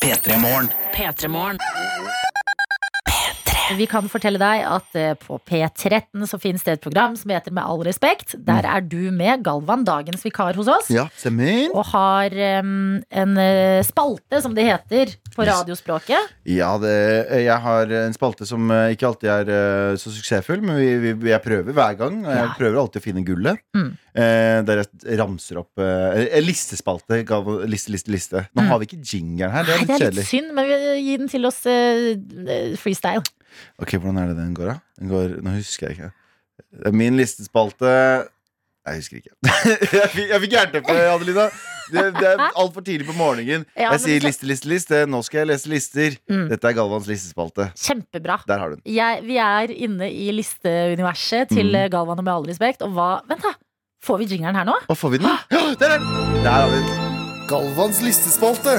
Speaker 1: P3 Morgen.
Speaker 2: P3morgen.
Speaker 3: Vi kan fortelle deg at eh, på P13 så finnes det et program som heter Med all respekt. Der er du med, Galvan, dagens vikar hos oss.
Speaker 5: Ja, stemmer.
Speaker 3: Og har eh, en eh, spalte, som det heter på radiospråket.
Speaker 5: Ja, det, eh, jeg har en spalte som øh, ikke alltid er øh, så suksessfull, men vi, vi, jeg prøver hver gang. og Jeg
Speaker 3: Ja.
Speaker 5: prøver alltid å finne gullet.
Speaker 3: Mm.
Speaker 5: Eh, der jeg ramser opp eh, En listespalte. Gav, liste, liste, liste. Nå har vi ikke jingeren her. Det
Speaker 3: Mm. Nei, det
Speaker 5: er litt
Speaker 3: er litt
Speaker 5: kjedelig.
Speaker 3: synd, men vi gir den til oss eh, freestyle.
Speaker 5: Ok, Hvordan er det den går, da? Den går, nå husker jeg ikke. Det er Min listespalte Jeg husker ikke. jeg fikk, jeg fikk jernteppe, Adelina. Det, det er altfor tidlig på morgenen.
Speaker 3: Ja, men
Speaker 5: jeg sier
Speaker 3: så-
Speaker 5: liste, liste, liste. Nå skal jeg lese lister.
Speaker 3: Mm.
Speaker 5: Dette er Galvans listespalte.
Speaker 3: Kjempebra.
Speaker 5: Der har du den.
Speaker 3: jeg, vi er inne i listeuniverset til
Speaker 5: Mm.
Speaker 3: Galvan og med all respekt. Og hva Vent, da! Får vi jingeren her nå?
Speaker 5: Og får vi den? Ja, der er den! Der har vi den. Galvans listespalte.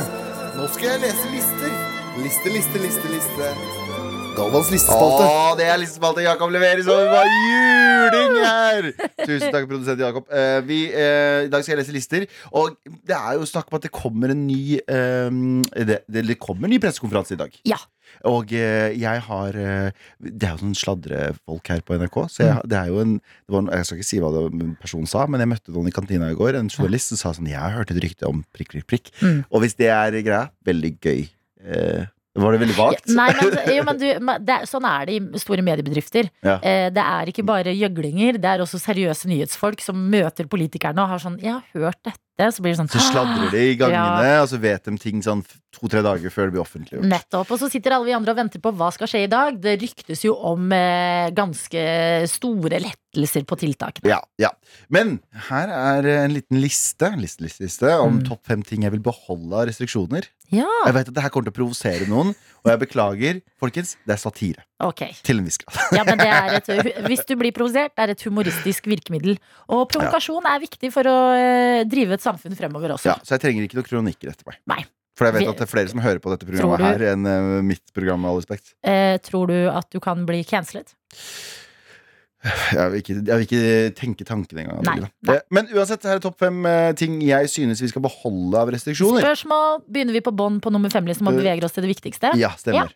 Speaker 5: Nå skal jeg lese lister. Liste, liste, liste, liste. Galvans listespalte. Å, det er listespalte Jakob leverer som var juling her! Tusen takk, produsent Jakob. Eh, vi, eh, I dag skal jeg lese lister. Og det er jo snakk om at det kommer en ny eh, det, det kommer en ny pressekonferanse i dag.
Speaker 3: Ja.
Speaker 5: Og eh, jeg har eh, Det er jo sånn sladrefolk her på NRK. Så
Speaker 3: Mm.
Speaker 5: jeg, det er jo en, det var, en- jeg skal ikke si hva den personen sa, men jeg møtte noen i kantina i går. En journalist som sa sånn Jeg har hørt et rykte om prikk, prikk, prikk.
Speaker 3: Mm.
Speaker 5: Og hvis det er greia, veldig gøy. Eh, var det veldig
Speaker 3: Ja,
Speaker 5: vagt?
Speaker 3: Nei, men, jo, men du, men det, er- sånn er det i store mediebedrifter.
Speaker 5: Ja.
Speaker 3: Eh, det er ikke bare gjøglinger, det er også seriøse nyhetsfolk som møter politikerne og har sånn 'Jeg har hørt dette', så blir det sånn
Speaker 5: Så sladrer de i gangene, og så vet de ting sånn f- to-tre dager før det blir offentliggjort.
Speaker 3: Nettopp. Og så sitter alle vi andre og venter på hva skal skje i dag. Det ryktes jo om eh, ganske store lettelser på tiltakene.
Speaker 5: Ja, ja. Men her er eh, en liten liste, liste, liste, liste om
Speaker 3: Mm.
Speaker 5: topp fem ting jeg vil beholde av restriksjoner.
Speaker 3: Ja,
Speaker 5: Jeg vet at det her kommer til å provosere noen, og jeg beklager. Folkens, det er satire.
Speaker 3: ok.
Speaker 5: Til en viss grad.
Speaker 3: Ja, men det er et, hvis du blir provosert, det er et humoristisk virkemiddel. Og provokasjon er viktig for å eh, drive et samfunn fremover også.
Speaker 5: Ja, så jeg trenger ikke noen kronikker etter meg.
Speaker 3: Nei.
Speaker 5: For jeg vet
Speaker 3: Vi-
Speaker 5: at det er flere som hører på dette
Speaker 3: Tror
Speaker 5: programmet
Speaker 3: du-
Speaker 5: her enn eh, mitt program, med all respekt.
Speaker 3: Eh, tror du at du kan bli cancelet?
Speaker 5: Jeg vil ikke, jeg vil ikke tenke tanken engang.
Speaker 3: Nei,
Speaker 5: Adelina.
Speaker 3: nei.
Speaker 5: Eh, Men uansett, her er topp fem eh, ting jeg synes vi skal beholde av restriksjoner.
Speaker 3: Spørsmål. Begynner vi på bånn på nummer fem-listen og
Speaker 5: Øh,
Speaker 3: beveger oss til det viktigste?
Speaker 5: Ja, stemmer.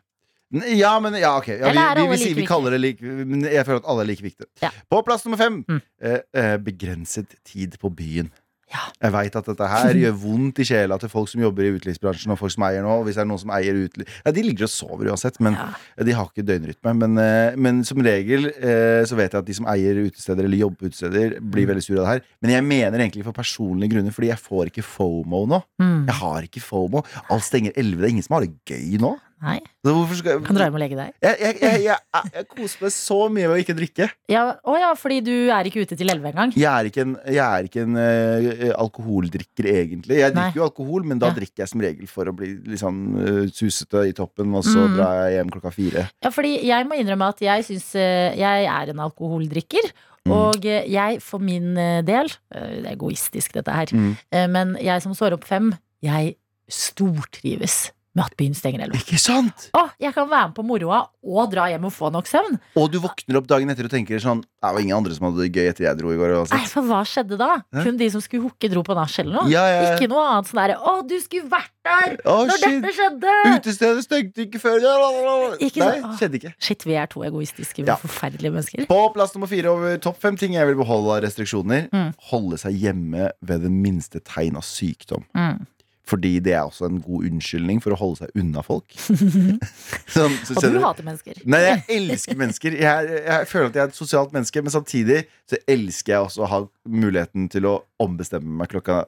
Speaker 5: N- Ja, men ja, ok. Ja,
Speaker 3: Eller er
Speaker 5: vi, vi,
Speaker 3: alle
Speaker 5: vi, sier
Speaker 3: like
Speaker 5: vi kaller det lik Men jeg føler at alle er like viktige.
Speaker 3: Ja.
Speaker 5: På plass nummer fem
Speaker 3: Mm.
Speaker 5: eh, eh, begrenset tid på byen.
Speaker 3: Ja.
Speaker 5: Jeg veit at dette her gjør vondt i sjela til folk som jobber i utelivsbransjen. Og folk som eier nå Hvis det er noen som eier uteliv ja, De ligger og sover uansett, men
Speaker 3: Ja.
Speaker 5: de har ikke døgnrytme. Men, eh, men som regel eh, så vet jeg at de som eier utesteder eller jobber på utesteder,
Speaker 3: Mm.
Speaker 5: blir veldig sure av det her. Men jeg mener egentlig for personlige grunner, fordi jeg får ikke FOMO nå.
Speaker 3: Mm.
Speaker 5: Jeg har ikke FOMO. Alt stenger 11. Det er ingen som har det gøy nå.
Speaker 3: Nei.
Speaker 5: Så hvorfor skal
Speaker 3: Kan dra hjem og legge deg.
Speaker 5: jeg, jeg, jeg, jeg, jeg koser meg så mye med å ikke drikke.
Speaker 3: Ja, å ja, fordi du er ikke ute til elleve engang?
Speaker 5: Jeg er ikke en, jeg er ikke en eh, alkoholdrikker, egentlig.
Speaker 3: Nei.
Speaker 5: Jeg drikker jo alkohol, men da
Speaker 3: Ja.
Speaker 5: drikker jeg som regel for å bli litt sånn, eh, susete i toppen, og så
Speaker 3: Mm.
Speaker 5: drar jeg hjem klokka fire.
Speaker 3: Ja, fordi jeg må innrømme at jeg syns eh, jeg er en alkoholdrikker.
Speaker 5: Mm.
Speaker 3: Og eh, jeg for min eh, del eh, Det er egoistisk, dette her.
Speaker 5: Mm.
Speaker 3: eh, Men jeg som står opp fem, jeg stortrives med at byen stenger elleve.
Speaker 5: Ikke sant?
Speaker 3: Å, jeg kan være med på moroa og dra hjem og få nok søvn.
Speaker 5: Og du våkner opp dagen etter og tenker sånn Det var ingen andre som hadde det gøy etter jeg dro i går.
Speaker 3: Nei,
Speaker 5: uansett."
Speaker 3: for hva skjedde da?
Speaker 5: Hæ?
Speaker 3: Kun de som skulle hooke, dro på nach eller noe?
Speaker 5: Ja, ja.
Speaker 3: Ikke noe annet sånn derre 'Å, du skulle vært der
Speaker 5: Å,
Speaker 3: når
Speaker 5: shit!
Speaker 3: dette skjedde!'
Speaker 5: Utestedet stengte ikke før
Speaker 3: Ikke
Speaker 5: Nei,
Speaker 3: sant? Åh.
Speaker 5: skjedde ikke.
Speaker 3: Shit, vi er to egoistiske,
Speaker 5: Ja.
Speaker 3: forferdelige mennesker.
Speaker 5: På plass nummer fire over topp fem ting jeg vil beholde av restriksjoner.
Speaker 3: Mm.
Speaker 5: Holde seg hjemme ved den minste tegn av sykdom.
Speaker 3: Mm.
Speaker 5: Fordi det er også en god unnskyldning for å holde seg unna folk. sånn, så
Speaker 3: Og
Speaker 5: skjønner
Speaker 3: du
Speaker 5: du.
Speaker 3: hater mennesker.
Speaker 5: Nei, jeg elsker mennesker. Jeg, jeg føler at jeg er et sosialt menneske, men samtidig så elsker jeg også å ha muligheten til å ombestemme meg klokka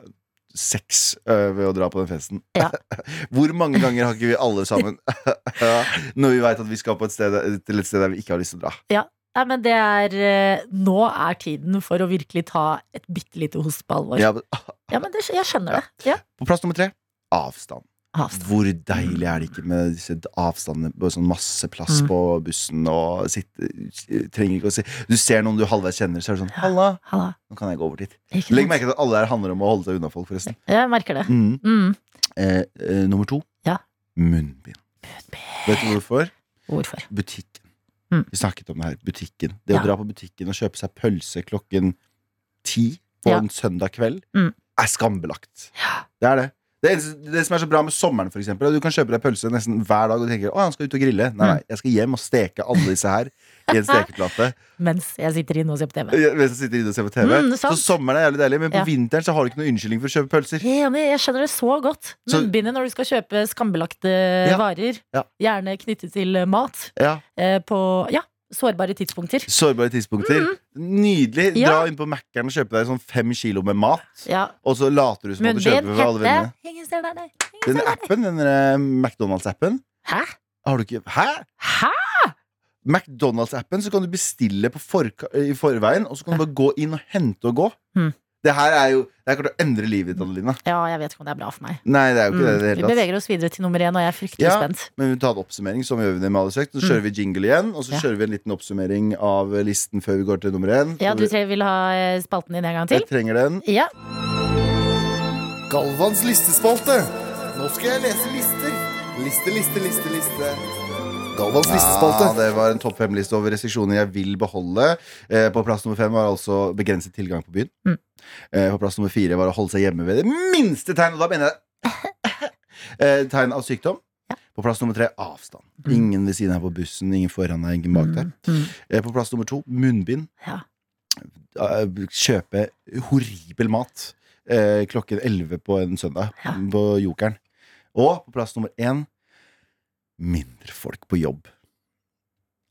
Speaker 5: seks øh, ved å dra på den festen.
Speaker 3: Ja.
Speaker 5: Hvor mange ganger har ikke vi alle sammen når vi veit at vi skal på et sted, til et sted der vi ikke har lyst til å dra?
Speaker 3: Nei, men det er eh, Nå er tiden for å virkelig ta et bitte lite host på alvor. Ja,
Speaker 5: Ja, men,
Speaker 3: men det, jeg skjønner det. Ja.
Speaker 5: på plass nummer tre avstand.
Speaker 3: Avstand.
Speaker 5: Hvor deilig er det ikke med disse avstandene Bare sånn masse plass
Speaker 3: Mm.
Speaker 5: på bussen og sitte Trenger ikke å si Du ser noen du halvveis kjenner, så er det sånn Halla,
Speaker 3: Halla.
Speaker 5: nå kan jeg gå over dit.
Speaker 3: Ikke
Speaker 5: Legg
Speaker 3: sant?
Speaker 5: merke til at alle her handler om å holde seg unna folk, forresten.
Speaker 3: Jeg merker det.
Speaker 5: Mm.
Speaker 3: Mm.
Speaker 5: Eh, eh, nummer to
Speaker 3: Ja.
Speaker 5: munnbind. Vet du hvorfor?
Speaker 3: Hvorfor?
Speaker 5: Butikken.
Speaker 3: Mm.
Speaker 5: Vi snakket om det her. Butikken. Det
Speaker 3: Ja.
Speaker 5: å dra på butikken og kjøpe seg pølse klokken ti på
Speaker 3: Ja.
Speaker 5: en søndag kveld
Speaker 3: Mm.
Speaker 5: er skambelagt. Det er det. Det, eneste, det som er så bra med sommeren, for eksempel, er at du kan kjøpe deg pølse nesten hver dag og tenke å, han skal ut og grille. Nei,
Speaker 3: Mm.
Speaker 5: nei, jeg skal hjem og steke alle disse her i en stekeplate
Speaker 3: Mens jeg sitter inne og ser på TV.
Speaker 5: eh, mens jeg sitter inne og ser på TV.
Speaker 3: Mm,
Speaker 5: så
Speaker 3: sant.
Speaker 5: sommeren er jævlig deilig, men på
Speaker 3: Ja.
Speaker 5: vinteren så har du ikke noen unnskyldning for å kjøpe pølser.
Speaker 3: Jeg er enig, jeg skjønner det så godt.
Speaker 5: Så-
Speaker 3: Munnbindet når du skal kjøpe skambelagte varer.
Speaker 5: ja.
Speaker 3: Gjerne knyttet til eh, mat.
Speaker 5: Ja.
Speaker 3: Eh, på ja, sårbare tidspunkter.
Speaker 5: Sårbare tidspunkter. Nydelig.
Speaker 3: Mm. Ja.
Speaker 5: Dra inn på Mækkern og kjøpe deg sånn fem kilo med mat.
Speaker 3: Ja.
Speaker 5: Og så later du som at du kjøper
Speaker 3: Munnbind,
Speaker 5: for alle
Speaker 3: hette
Speaker 5: vennene.
Speaker 3: Ingen ser deg, nei.
Speaker 5: Den appen, den eh, McDonald's-appen
Speaker 3: Hæ?
Speaker 5: Har du ikke Hæ?
Speaker 3: Hæ?
Speaker 5: McDonald's-appen så kan du bestille på forka, i forveien, og så kan du bare gå inn og hente og gå.
Speaker 3: Mm.
Speaker 5: Det her er jo Det her kommer til å endre livet ditt, Adelina.
Speaker 3: Ja, jeg vet ikke om det er bra for meg.
Speaker 5: Nei, det er jo
Speaker 3: Mm.
Speaker 5: ikke det i det
Speaker 3: Vi
Speaker 5: hele tatt.
Speaker 3: beveger oss videre til nummer én, og jeg er fryktelig
Speaker 5: Ja.
Speaker 3: spent.
Speaker 5: Men vi tar en oppsummering, som vi gjør det med alle søkt. Så kjører vi jingle igjen, og så
Speaker 3: Hmm. Ja.
Speaker 5: kjører vi en liten oppsummering av listen før vi går til nummer én.
Speaker 3: Ja, du tre vil ha eh, spalten din en gang til?
Speaker 5: Jeg trenger den.
Speaker 3: Ja.
Speaker 5: Galvans listespalte. Nå skal jeg lese lister. Liste, liste, liste, liste. Galvans listespalte. Ja, det var en topp fem-liste over restriksjoner jeg vil beholde. Eh, på plass nummer fem var altså begrenset tilgang på byen.
Speaker 3: Mm.
Speaker 5: Eh, på plass nummer fire var å holde seg hjemme ved det minste tegn, og da mener jeg eh, tegn av sykdom. På plass nummer tre avstand. Ingen ved siden av på bussen, ingen foran deg, ingen bak deg.
Speaker 3: Mm.
Speaker 5: Eh, på plass nummer to munnbind.
Speaker 3: Ja.
Speaker 5: Eh, kjøpe horribel mat eh, klokken 11 på en søndag
Speaker 3: Ja.
Speaker 5: på Jokeren. Og på plass nummer én mindre folk på jobb.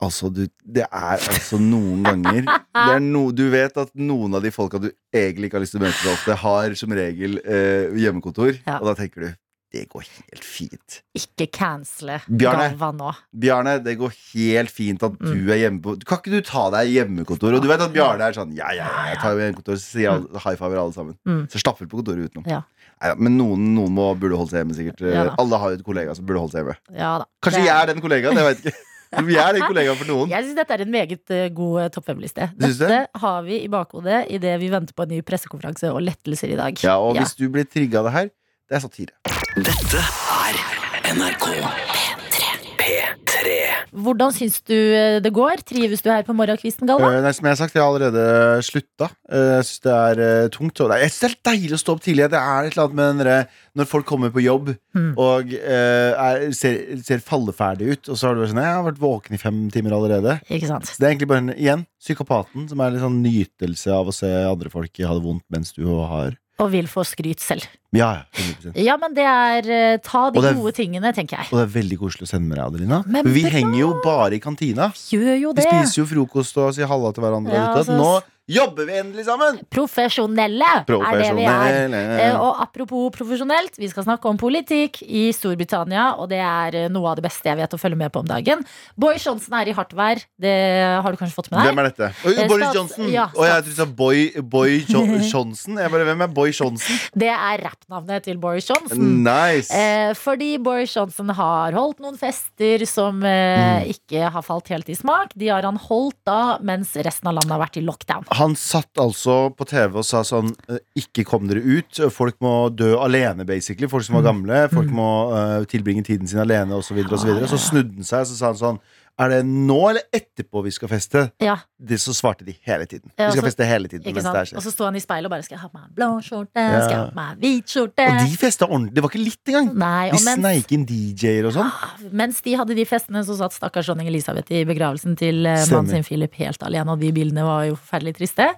Speaker 5: Altså, du Det er altså noen ganger det er no, Du vet at noen av de folka du egentlig ikke har lyst til å møte så ofte, har som regel eh, hjemmekontor,
Speaker 3: Ja.
Speaker 5: og da tenker du det går helt fint.
Speaker 3: Ikke cancele
Speaker 5: Bjarne.
Speaker 3: Galvan nå.
Speaker 5: Bjarne, det går helt fint at
Speaker 3: Mm.
Speaker 5: du er hjemme på Kan ikke du ta deg hjemmekontor? Og du vet at Bjarne er sånn Ja, ja, ja, jeg tar hjemmekontor, så sier alle, high fiver alle sammen.
Speaker 3: Mm.
Speaker 5: Så slapper på kontoret utenom.
Speaker 3: Ja.
Speaker 5: Neida, men noen, noen må, burde holde seg hjemme, sikkert.
Speaker 3: Ja da.
Speaker 5: alle har jo et kollega som burde holde seg hjemme.
Speaker 3: Ja da.
Speaker 5: Kanskje
Speaker 3: Det
Speaker 5: jeg er den kollegaen, jeg vet ikke. Men jeg er den kollegaen for noen.
Speaker 3: Jeg syns dette er en meget eh, god eh, topp fem-liste.
Speaker 5: Syns du?
Speaker 3: Dette har vi i bakhodet idet vi venter på en ny pressekonferanse og lettelser i dag.
Speaker 5: Ja, og hvis du blir trigga av det her, det er satire.
Speaker 1: Dette er NRK P3.
Speaker 3: Hvordan syns du eh, det går? Trives du her på morgenkvisten, Galvan?
Speaker 5: Eh, Nei, som jeg har sagt, jeg har allerede slutta. Eh, Jeg syns det er eh, tungt. Og det er, jeg synes det er deilig å stå opp tidlig. Det er et eller annet med den derre- når folk kommer på jobb
Speaker 3: Mm.
Speaker 5: og eh, er, ser, ser falleferdig ut, og så har du vært sånn Jeg har vært våken i fem timer allerede.
Speaker 3: Ikke sant?
Speaker 5: Så Eh, det er egentlig bare en, igjen psykopaten som er litt sånn nytelse av å se andre folk ha det vondt mens du har
Speaker 3: Og vil få skryt selv.
Speaker 5: Ja, ja. 100%.
Speaker 3: Ja, men det er eh, Ta de
Speaker 5: Og det er-
Speaker 3: gode tingene, tenker jeg.
Speaker 5: Og det er veldig koselig å sende med deg, Adelina.
Speaker 3: Men
Speaker 5: For vi
Speaker 3: bra!
Speaker 5: henger jo bare i kantina.
Speaker 3: Gjør jo
Speaker 5: Vi
Speaker 3: det.
Speaker 5: spiser jo frokost og sier halla til hverandre.
Speaker 3: Ja,
Speaker 5: og ditt og datt.
Speaker 3: altså-
Speaker 5: Nå jobber vi endelig sammen!
Speaker 3: Profesjonelle er det vi er. Eh, Og apropos profesjonelt, vi skal snakke om politikk i Storbritannia, og det er eh, noe av det beste jeg vet å følge med på om dagen. Boris Johnson er i hardt vær. Det har du kanskje fått med deg?
Speaker 5: Hvem er dette? Oi,
Speaker 3: Eh,
Speaker 5: Boris
Speaker 3: stats-
Speaker 5: Johnson!
Speaker 3: ja,
Speaker 5: og jeg trodde du sa Boy, Boy jo Johnson. Jeg bare, hvem er Boy Johnson?
Speaker 3: Det er rappnavnet til Boris Johnson.
Speaker 5: Nice!
Speaker 3: Eh, fordi Boris Johnson har holdt noen fester som eh,
Speaker 5: Mm.
Speaker 3: ikke har falt helt i smak. De har han holdt da mens resten av landet har vært i lockdown.
Speaker 5: Han satt altså på TV og sa sånn eh, Ikke kom dere ut. Folk må dø alene, basically. Folk som var
Speaker 3: Mm.
Speaker 5: gamle. Folk må eh, tilbringe tiden sin alene, osv. Så, videre, og så, videre. så
Speaker 3: Ah.
Speaker 5: snudde han seg og sa han sånn Er det nå eller etterpå vi skal feste?
Speaker 3: Ja,
Speaker 5: Det så svarte de hele tiden.
Speaker 3: Ja,
Speaker 5: Vi skal
Speaker 3: altså-
Speaker 5: feste hele tiden.
Speaker 3: ikke
Speaker 5: Mens det her
Speaker 3: sant? Og
Speaker 5: skjer.
Speaker 3: så sto han i speilet og bare skal jeg ha på meg blå skjorte,
Speaker 5: Ja.
Speaker 3: skal jeg ha på meg hvit skjorte.
Speaker 5: Og de festa ordentlig. Det var ikke litt engang.
Speaker 3: Nei,
Speaker 5: De
Speaker 3: og mens,
Speaker 5: sneik inn DJ-er og sånn.
Speaker 3: mens de hadde de festene, så satt stakkars dronning Elisabeth i begravelsen til eh,
Speaker 5: Stemmer. Mm.
Speaker 3: mannen sin Philip helt alene, og de bildene var jo forferdelig triste.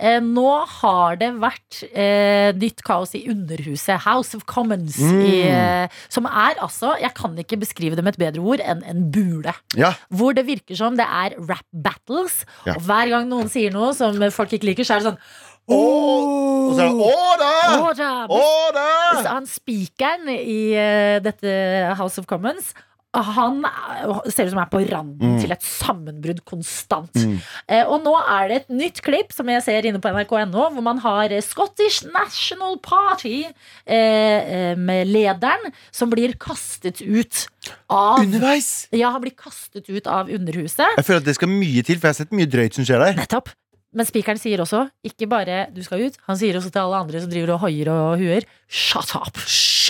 Speaker 3: Eh, nå har det vært eh, nytt kaos i Underhuset, House of Commons,
Speaker 5: Mm.
Speaker 3: i, eh, som er altså, jeg kan ikke beskrive det med et bedre ord enn en bule.
Speaker 5: Ja,
Speaker 3: Hvor det virker som det er rap battles,
Speaker 5: Ja.
Speaker 3: og hver gang noen sier noe som folk ikke liker, så er det sånn
Speaker 5: Og så er det Å da!
Speaker 3: «Åh, da!»
Speaker 5: Å da!
Speaker 3: Så han spikeren i eh, dette House of Commons han er- ser ut som han er på randen til et sammenbrudd konstant. Eh, og nå er det et nytt klipp som jeg ser inne på nrk.no, hvor man har eh, Scottish National Party eh, eh, med lederen som blir kastet ut av
Speaker 5: Underveis!
Speaker 3: Ja, han blir kastet ut av Underhuset.
Speaker 5: Jeg føler at det skal mye til, for jeg har sett mye drøyt som skjer der.
Speaker 3: Nettopp. Men spikeren sier også, ikke bare 'du skal ut', han sier også til alle andre som driver og hoier og huer, 'shut up'.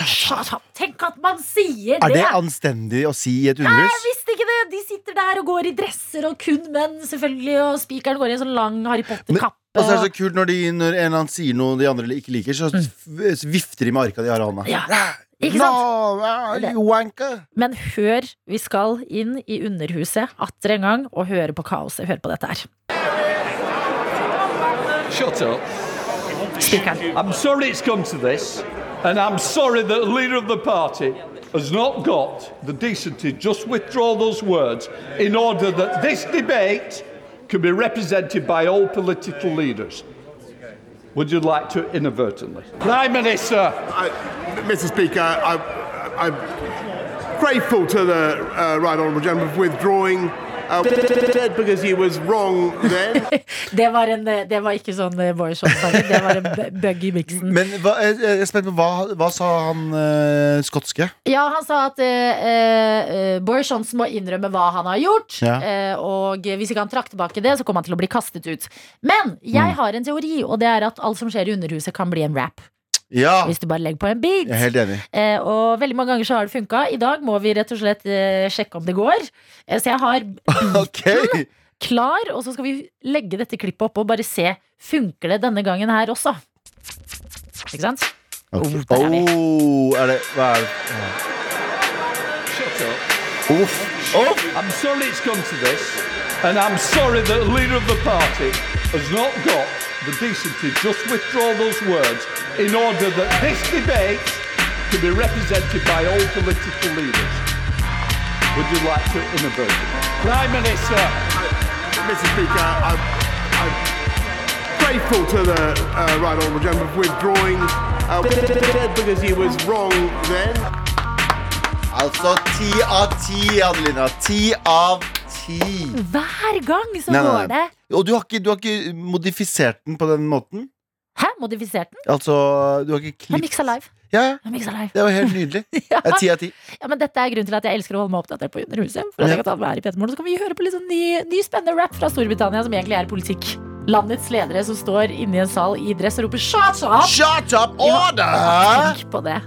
Speaker 3: Shut up. Tenk at man sier
Speaker 5: Er
Speaker 3: det!
Speaker 5: det anstendig å si i et underhus?
Speaker 3: Jeg visste ikke det! De sitter der og går i dresser, og kun menn, selvfølgelig, og spikeren går i en sånn lang Harry Potter-kappe.
Speaker 5: Og så er det så kult når, de, når en eller annen sier noe de andre ikke liker, så f- vifter de med arka de har i hånda.
Speaker 3: Mm. Ja, ikke
Speaker 5: No, ah, you wanker.
Speaker 3: Men hør, vi skal inn i Underhuset atter en gang og høre på kaoset. Hør på dette her.
Speaker 9: Shut up.
Speaker 3: Spikeren.
Speaker 9: I'm sorry it's come to this, and I'm sorry that the leader of the party has not got the decency to just withdraw those words in order that this debate can be represented by all political leaders. Would you like to inadvertently? Prime Minister,
Speaker 10: I, Mr. Speaker, I, I, I'm grateful to the uh, Right Honourable Gentleman for withdrawing. Uh, because he was wrong then.
Speaker 3: Det var, en, eh, det var ikke sånn eh, Boris Johnson, det var en bu- bug i miksen.
Speaker 5: Men hva, jeg jeg er spent på hva, hva sa han eh, skotske?
Speaker 3: Ja, han sa at eh, eh, Boris Johnson må innrømme hva han har gjort.
Speaker 5: Ja.
Speaker 3: eh, og hvis ikke han trakk tilbake det, så kommer han til å bli kastet ut. Men
Speaker 5: Mm.
Speaker 3: jeg har en teori, og det er at alt som skjer i Underhuset, kan bli en rap.
Speaker 5: Ja,
Speaker 3: Hvis du bare legger på en beat.
Speaker 5: jeg er helt enig.
Speaker 3: Eh, og veldig mange ganger så har det funka. I dag må vi rett og slett eh, sjekke om det går. Eh, så jeg har
Speaker 5: Ok!
Speaker 3: klar, og så skal vi legge dette klippet opp og bare se funker det denne gangen her også. Ikke sant?
Speaker 5: Ok.
Speaker 3: Oh, der er vi.
Speaker 5: Oh, er det, hva er det?
Speaker 9: shut up.
Speaker 5: Uff. Uff.
Speaker 9: I'm sorry it's come to this, and I'm sorry that the leader of the party has not got the decency to just withdraw those words in order that this debate can be represented by all political leaders. Would you like to innovate? Prime Minister,
Speaker 10: Mr. Speaker, I, I'm grateful to the uh, Right Honourable Gentleman for withdrawing. Uh, because he was wrong then.
Speaker 5: Altså ti av ti, Adelina. Ti av ti.
Speaker 3: Hver gang så
Speaker 5: Nei, nei,
Speaker 3: går det.
Speaker 5: nei. Og du har, ikke, du har ikke modifisert den på den måten?
Speaker 3: Hæ? Modifisert den?
Speaker 5: Altså, du har
Speaker 3: Det
Speaker 5: ikke
Speaker 3: er
Speaker 5: klippet
Speaker 3: Mix Alive.
Speaker 5: Ja,
Speaker 3: Det er Mix Alive.
Speaker 5: det var helt nydelig.
Speaker 3: Ja.
Speaker 5: Det er ti av ti.
Speaker 3: Ja, men dette er grunnen til at jeg elsker å holde meg oppdatert på Underhuset. For at jeg kan ta det med her i Petermorgen. Så kan vi høre på litt sånn ny, ny spennende rap fra Storbritannia, som egentlig er politikk. Landets ledere som står inne i en sal i dress og roper 'shut up'!
Speaker 5: Shut up,
Speaker 3: Ja,
Speaker 5: order!
Speaker 3: Tenk på det.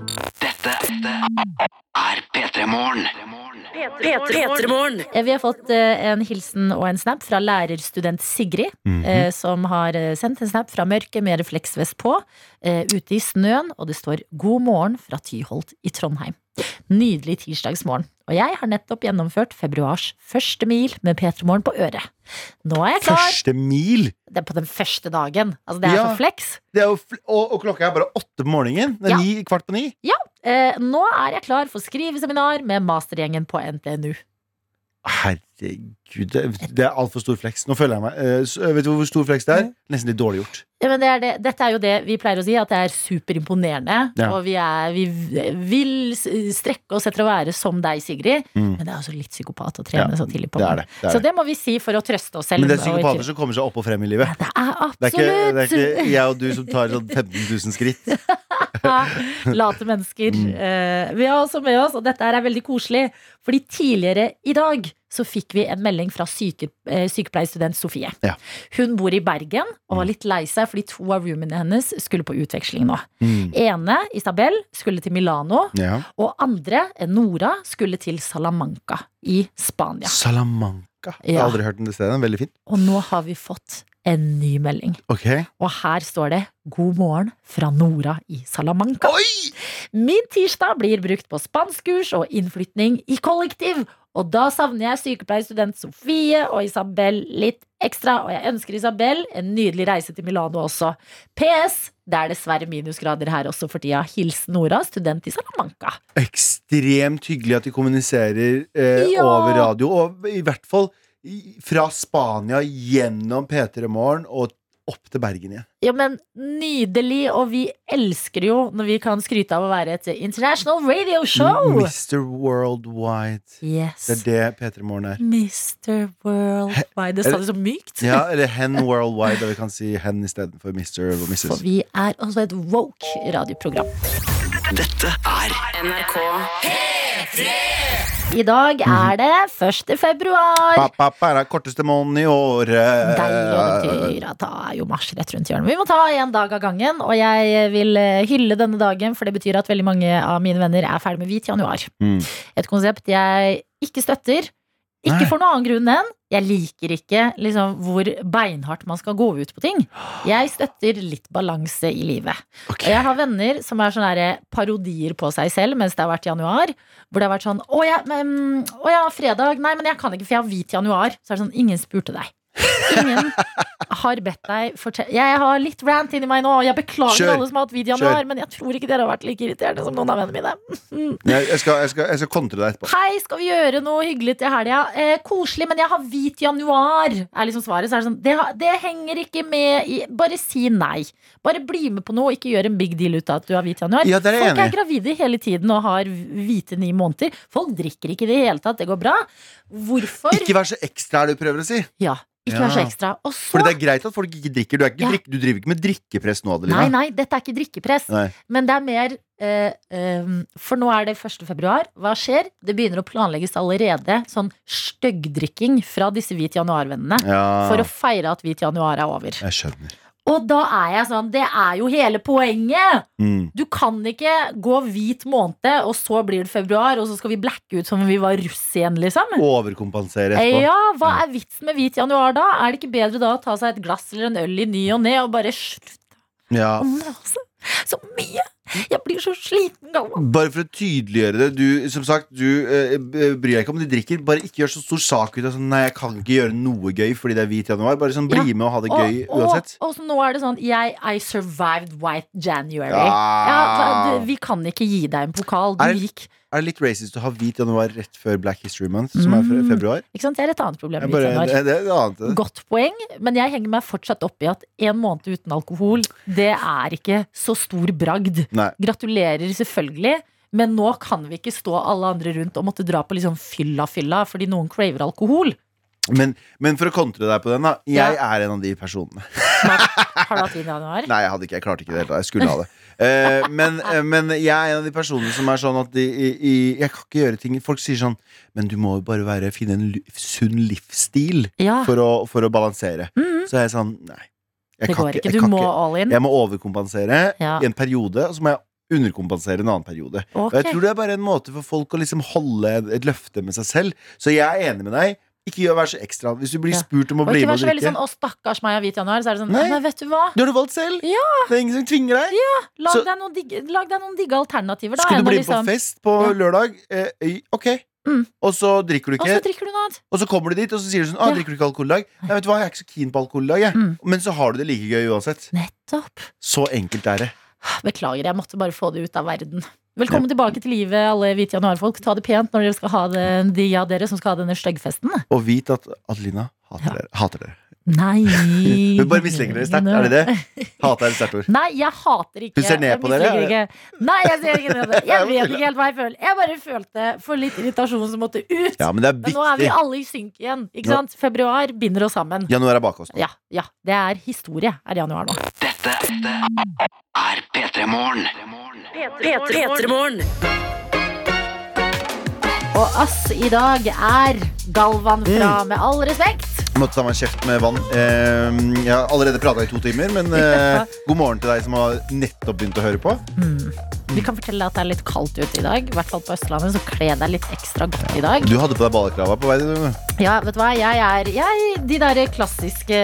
Speaker 1: Dette er P3 Morgen.
Speaker 2: P3morgen.
Speaker 3: Eh, Vi har fått eh, en hilsen og en snap fra lærerstudent Sigrid,
Speaker 5: Mm-hmm.
Speaker 3: eh, som har eh, sendt en snap fra mørket med refleksvest på, eh, ute i snøen, og det står 'God morgen' fra Tyholt i Trondheim. Nydelig tirsdagsmorgen. Og jeg har nettopp gjennomført februars første mil med P3 Morgen på øret. Nå er jeg klar!
Speaker 5: Mm-hmm. Første mil!
Speaker 3: Det er på den første dagen. Altså, det er
Speaker 5: Ja.
Speaker 3: så flex.
Speaker 5: Det er jo fl og, og klokka er bare åtte på morgenen. Det
Speaker 3: Ja.
Speaker 5: er ni, kvart på ni.
Speaker 3: Eh, nå er jeg klar for skriveseminar med mastergjengen på NTNU.
Speaker 5: Herregud, det, det er altfor stor flex. Nå føler jeg meg eh, s- Vet du hvor stor flex det er?
Speaker 3: Mm.
Speaker 5: Nesten litt dårlig gjort.
Speaker 3: Ja, men det er det. Dette er jo det vi pleier å si, at det er superimponerende.
Speaker 5: Ja.
Speaker 3: Og vi, er, vi vil s- strekke oss etter å være som deg, Sigrid.
Speaker 5: Mm.
Speaker 3: Men det er altså litt psykopat å trene
Speaker 5: Ja,
Speaker 3: så tidlig på.
Speaker 5: Det er det. det,
Speaker 3: Så
Speaker 5: er det.
Speaker 3: det må vi si for å trøste oss selv.
Speaker 5: Men det
Speaker 3: og
Speaker 5: er
Speaker 3: ikke-
Speaker 5: psykopater som kommer seg opp og frem i livet.
Speaker 3: Det er
Speaker 5: Det er, ikke, det
Speaker 3: absolutt!
Speaker 5: er ikke jeg og du som tar sånn 15 000 skritt.
Speaker 3: Late mennesker.
Speaker 5: Mm.
Speaker 3: Eh, vi har også med oss, og dette her er veldig koselig, fordi tidligere i dag så fikk vi en melding fra syke, eh, sykepleierstudent Sofie.
Speaker 5: Ja. Mm.
Speaker 3: Hun bor i Bergen og var litt lei seg fordi to av roomene hennes skulle på utveksling nå.
Speaker 5: Mm.
Speaker 3: Ene, Isabel, skulle til Milano,
Speaker 5: Ja.
Speaker 3: og andre, Nora, skulle til Salamanca i Spania.
Speaker 5: Salamanca. Jeg
Speaker 3: Ja.
Speaker 5: har aldri hørt om det stedet. Veldig fint.
Speaker 3: Og nå har vi fått en ny melding.
Speaker 5: Ok.
Speaker 3: Og her står det 'God morgen fra Nora i Salamanca'. Min tirsdag blir brukt på spanskkurs og innflytning i kollektiv. Og da savner jeg sykepleierstudent Sofie og Isabel litt ekstra. Og jeg ønsker Isabel en nydelig reise til Milano også. PS. Det er dessverre minusgrader her også for tida. Hilsen Nora, student i Salamanca.
Speaker 5: Ekstremt hyggelig at de kommuniserer eh,
Speaker 3: Ja.
Speaker 5: over radio, og i hvert fall i- fra Spania gjennom P3 Morgen og opp til Bergen igjen.
Speaker 3: Ja, men nydelig, og vi elsker jo når vi kan skryte av å være et international radio show.
Speaker 5: Mr. Worldwide.
Speaker 3: Yes.
Speaker 5: Det er det P3 Morgen er.
Speaker 3: Mr. Worldwide. Det sa
Speaker 5: er
Speaker 3: du så mykt.
Speaker 5: Ja, eller Hen Worldwide, da vi kan si Hen istedenfor Mr. og
Speaker 3: For
Speaker 5: Mrs.
Speaker 3: vi er også et woke radioprogram.
Speaker 1: Dette er
Speaker 2: NRK
Speaker 3: I dag
Speaker 5: Mhm.
Speaker 3: er det 1. februar.
Speaker 5: Pappa er den korteste måneden i året.
Speaker 3: Deilig,
Speaker 5: eh,
Speaker 3: og det betyr at da er jo mars rett rundt hjørnet. Vi må ta en dag av gangen, og jeg vil eh, hylle denne dagen, for det betyr at veldig mange av mine venner er ferdig med hvit januar.
Speaker 5: Mm.
Speaker 3: Et konsept jeg ikke støtter. Ikke
Speaker 5: Nei.
Speaker 3: for noen annen grunn enn jeg liker ikke liksom, hvor beinhardt man skal gå ut på ting. Jeg støtter litt balanse i livet.
Speaker 5: Ok.
Speaker 3: Og Jeg har venner som er sånne der parodier på seg selv mens det har vært januar. Hvor det har vært sånn Å ja, men, å ja fredag. Nei, men jeg kan ikke, for jeg har hvit januar. Så er det sånn Ingen spurte deg. Ingen har bedt deg fortelle Jeg har litt rant inni meg nå. og Jeg beklager
Speaker 5: Kjør.
Speaker 3: alle som har hatt hvit januar,
Speaker 5: Kjør.
Speaker 3: men jeg tror ikke dere har vært like irriterende som noen av vennene mine.
Speaker 5: Jeg, jeg, skal, jeg, skal, jeg skal kontre deg etterpå.
Speaker 3: Hei, skal vi gjøre noe hyggelig til helga? Eh, koselig, men jeg har hvit januar, er liksom svaret. Så er det sånn, det, har- det henger ikke med i Bare si nei. Bare bli med på noe, ikke gjør en big deal ut av at du har hvit januar.
Speaker 5: Ja, der er jeg
Speaker 3: Folk er
Speaker 5: enig.
Speaker 3: gravide hele tiden og har hvite ni måneder. Folk drikker ikke i det hele tatt, det går bra. Hvorfor?
Speaker 5: Ikke vær så ekstra, er det du prøver å si.
Speaker 3: ja, ikke vær så
Speaker 5: Ja.
Speaker 3: ekstra. Og så
Speaker 5: Fordi det er greit at folk ikke drikker. Du, er ikke
Speaker 3: Ja.
Speaker 5: drikk, du driver ikke med drikkepress nå, Adelina.
Speaker 3: Nei, nei, dette er ikke drikkepress.
Speaker 5: Nei.
Speaker 3: Men det er mer eh, ehm, For nå er det 1. februar. Hva skjer? Det begynner å planlegges allerede sånn styggdrikking fra disse Hvit januar-vennene.
Speaker 5: Ja,
Speaker 3: For å feire at hvit januar er over.
Speaker 5: jeg skjønner.
Speaker 3: Og da er jeg sånn, det er jo hele poenget!
Speaker 5: Mm.
Speaker 3: Du kan ikke gå hvit måned, og så blir det februar, og så skal vi blacke ut som om vi var russ igjen, liksom.
Speaker 5: Overkompensere
Speaker 3: Eh,
Speaker 5: etterpå.
Speaker 3: Ja, hva er vitsen med hvit januar da? Er det ikke bedre da å ta seg et glass eller en øl i ny og ne og bare slutte
Speaker 5: Ja.
Speaker 3: å mase så mye? Jeg blir så sliten gammel.
Speaker 5: Bare for å tydeliggjøre det. Du, som sagt, du eh, bryr deg ikke om de drikker. Bare ikke gjør så stor sak ut av sånn Nei, jeg kan ikke gjøre noe gøy fordi det er hvit januar. Bare sånn, bli
Speaker 3: Ja.
Speaker 5: med og ha det gøy
Speaker 3: og,
Speaker 5: uansett.
Speaker 3: og, og så nå er det sånn jeg, I survived white January.
Speaker 5: Ja.
Speaker 3: Ja, hva- du, vi kan ikke gi deg en pokal.
Speaker 5: Er
Speaker 3: Du
Speaker 5: det-
Speaker 3: gikk
Speaker 5: Er det litt racist å ha hvit januar rett før Black History Month, som er fe-
Speaker 3: Mm.
Speaker 5: februar?
Speaker 3: Ikke sant? Det er et annet problem.
Speaker 5: Jeg
Speaker 3: med
Speaker 5: bare,
Speaker 3: hvit januar.
Speaker 5: det, det er noe annet. det.
Speaker 3: Godt poeng, men jeg henger meg fortsatt opp i at en måned uten alkohol, det er ikke så stor bragd.
Speaker 5: Nei.
Speaker 3: Gratulerer selvfølgelig, men nå kan vi ikke stå alle andre rundt og måtte dra på liksom fylla-fylla fordi noen craver alkohol.
Speaker 5: Men, men for å kontre deg på den, da. Jeg er en av de personene.
Speaker 3: Har du hatt vin i januar?
Speaker 5: Nei, jeg hadde ikke, jeg klarte ikke det. hele tatt. Jeg skulle ha det. Eh, men, eh, men jeg er en av de personene som er sånn at de, i, i, jeg kan ikke gjøre ting Folk sier sånn Men du må jo bare være, finne en li- sunn livsstil
Speaker 3: Ja,
Speaker 5: for å, for å balansere.
Speaker 3: Ah. Mhm.
Speaker 5: Så er jeg sånn Nei. Jeg
Speaker 3: det
Speaker 5: kan
Speaker 3: går ikke.
Speaker 5: jeg
Speaker 3: Du
Speaker 5: kan
Speaker 3: må
Speaker 5: ikke.
Speaker 3: all in.
Speaker 5: Jeg må overkompensere
Speaker 3: Ja.
Speaker 5: i en periode, og så må jeg underkompensere en annen periode. Og
Speaker 3: Ok.
Speaker 5: jeg tror det er bare en måte for folk å liksom holde et løfte med seg selv. Så jeg er enig med deg. Ikke gjør vær så ekstra. Hvis du blir
Speaker 3: Ja.
Speaker 5: spurt om å
Speaker 3: Og
Speaker 5: bli
Speaker 3: ikke
Speaker 5: med
Speaker 3: vær
Speaker 5: og
Speaker 3: så veldig
Speaker 5: drikke
Speaker 3: sånn 'Å, stakkars meg, jeg har hvit januar'. Så er det sånn
Speaker 5: Nei.
Speaker 3: 'Nei, vet du hva'.
Speaker 5: Det har du valgt selv. Det er ingen som tvinger deg.
Speaker 3: Lag,
Speaker 5: Så-
Speaker 3: deg, noen digge, lag deg noen digge alternativer, da.
Speaker 5: Skulle
Speaker 3: enn å
Speaker 5: du bli med
Speaker 3: liksom-
Speaker 5: på fest på
Speaker 3: Ja.
Speaker 5: lørdag? Eh, øy, ok.
Speaker 3: Mm.
Speaker 5: Og så drikker du
Speaker 3: Og så
Speaker 5: ikke.
Speaker 3: drikker du noe annet.
Speaker 5: Og så kommer du dit, og så sier du sånn ah,
Speaker 3: Ja.
Speaker 5: 'Drikker du ikke alkohol i dag?' Nei, vet du hva, jeg er ikke så keen på alkohol i dag, jeg.
Speaker 3: Mm.
Speaker 5: Men så har du det like gøy uansett.
Speaker 3: Nettopp.
Speaker 5: Så enkelt er det.
Speaker 3: Beklager, jeg måtte bare få det ut av verden. Velkommen tilbake til livet, alle hvite januarfolk. Ta det pent når dere skal ha det, de av dere som skal ha denne styggfesten.
Speaker 5: Og vit at Adelina hater dere. Hater dere.
Speaker 3: Nei.
Speaker 5: Hun bare misliker dere sterkt, er det det? Hater er et sterkt ord.
Speaker 3: Nei, jeg hater ikke.
Speaker 5: Hun ser ned
Speaker 3: jeg
Speaker 5: på dere,
Speaker 3: misliker
Speaker 5: er det?
Speaker 3: Ikke. Nei, jeg ser ikke ned på dere. Jeg vet ikke helt hva jeg føler. Jeg bare følte for litt irritasjon som måtte ut.
Speaker 5: Ja, men det er
Speaker 3: Men nå er vi
Speaker 5: viktig.
Speaker 3: alle i synk igjen. Ikke sant? Februar binder oss sammen.
Speaker 5: Januar er bak oss nå.
Speaker 3: Ja, ja. Det er historie, er januar nå.
Speaker 1: Dette er P3 Morgen.
Speaker 2: P3morgen.
Speaker 3: Og ass i dag er Galvan fra
Speaker 5: Mm.
Speaker 3: Med all respekt.
Speaker 5: Jeg Måtte ta meg en kjeft med vann. Eh, jeg har allerede prata i to timer, men eh, god morgen til deg som har nettopp begynt å høre på.
Speaker 3: Vi kan fortelle deg at det er litt kaldt ute i dag. I hvert fall på Østlandet, så kle deg litt ekstra godt i dag.
Speaker 5: Du hadde på deg balaklava på vei til du.
Speaker 3: Ja, vet du hva? Jeg er jeg, de der klassiske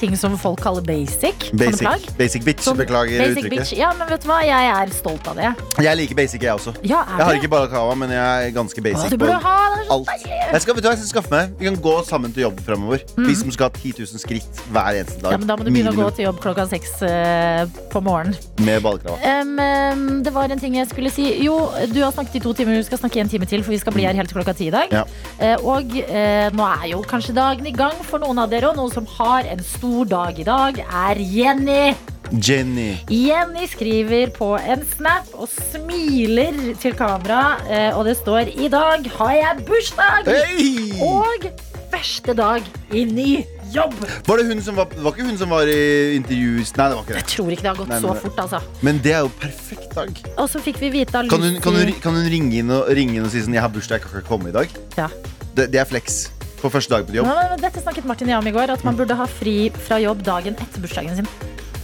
Speaker 3: ting som folk kaller basic. sånne plagg.
Speaker 5: Basic, basic bitch.
Speaker 3: Som-
Speaker 5: Beklager
Speaker 3: Basic
Speaker 5: uttrykket.
Speaker 3: bitch. Ja, men vet du hva? Jeg er stolt av det.
Speaker 5: Jeg liker basic, jeg også.
Speaker 3: Ja, er
Speaker 5: Jeg har
Speaker 3: du?
Speaker 5: ikke balaklava, men jeg er ganske
Speaker 3: Å,
Speaker 5: basic.
Speaker 3: du
Speaker 5: på
Speaker 3: burde ha det. er så
Speaker 5: alt. Jeg skal, vet du hva, jeg skal skaffe meg Vi kan gå sammen til jobb fremover. Vi som skal ha 10 000 skritt hver eneste
Speaker 3: Mm.
Speaker 5: dag.
Speaker 3: Ja, men da må du begynne å gå
Speaker 5: Minimum
Speaker 3: til jobb klokka seks eh, på morgenen.
Speaker 5: Med balaklava.
Speaker 3: Em, em, det var en ting jeg skulle si. Jo, du har snakket i to timer, du skal snakke en time til, for vi skal bli her helt til klokka ti i dag.
Speaker 5: Ja.
Speaker 3: Eh, og eh, nå er jo kanskje dagen i gang for noen av dere, og noen som har en stor dag i dag, er Jenny.
Speaker 5: Jenny.
Speaker 3: Jenny skriver på en snap og smiler til kamera, eh, og det står I dag har jeg bursdag!
Speaker 5: Hei!
Speaker 3: Og første dag i ny jobb!
Speaker 5: Var det hun som var, det var ikke hun som var i intervjuet? Nei, det var ikke
Speaker 3: Jeg
Speaker 5: det.
Speaker 3: tror ikke det har gått
Speaker 5: Nei, men
Speaker 3: så
Speaker 5: det-
Speaker 3: fort, altså.
Speaker 5: Men det er jo perfekt dag.
Speaker 3: Og så fikk vi vite av Lucy
Speaker 5: Kan hun, kan hun, kan hun ringe, inn og, ringe inn og si sånn Jeg har bursdag, jeg kan ikke komme i dag?
Speaker 3: Ja.
Speaker 5: Det, det er flex på første dag på jobb.
Speaker 3: Ja, men Dette snakket Martin og jeg om i går, at man burde ha fri fra jobb dagen etter bursdagen sin.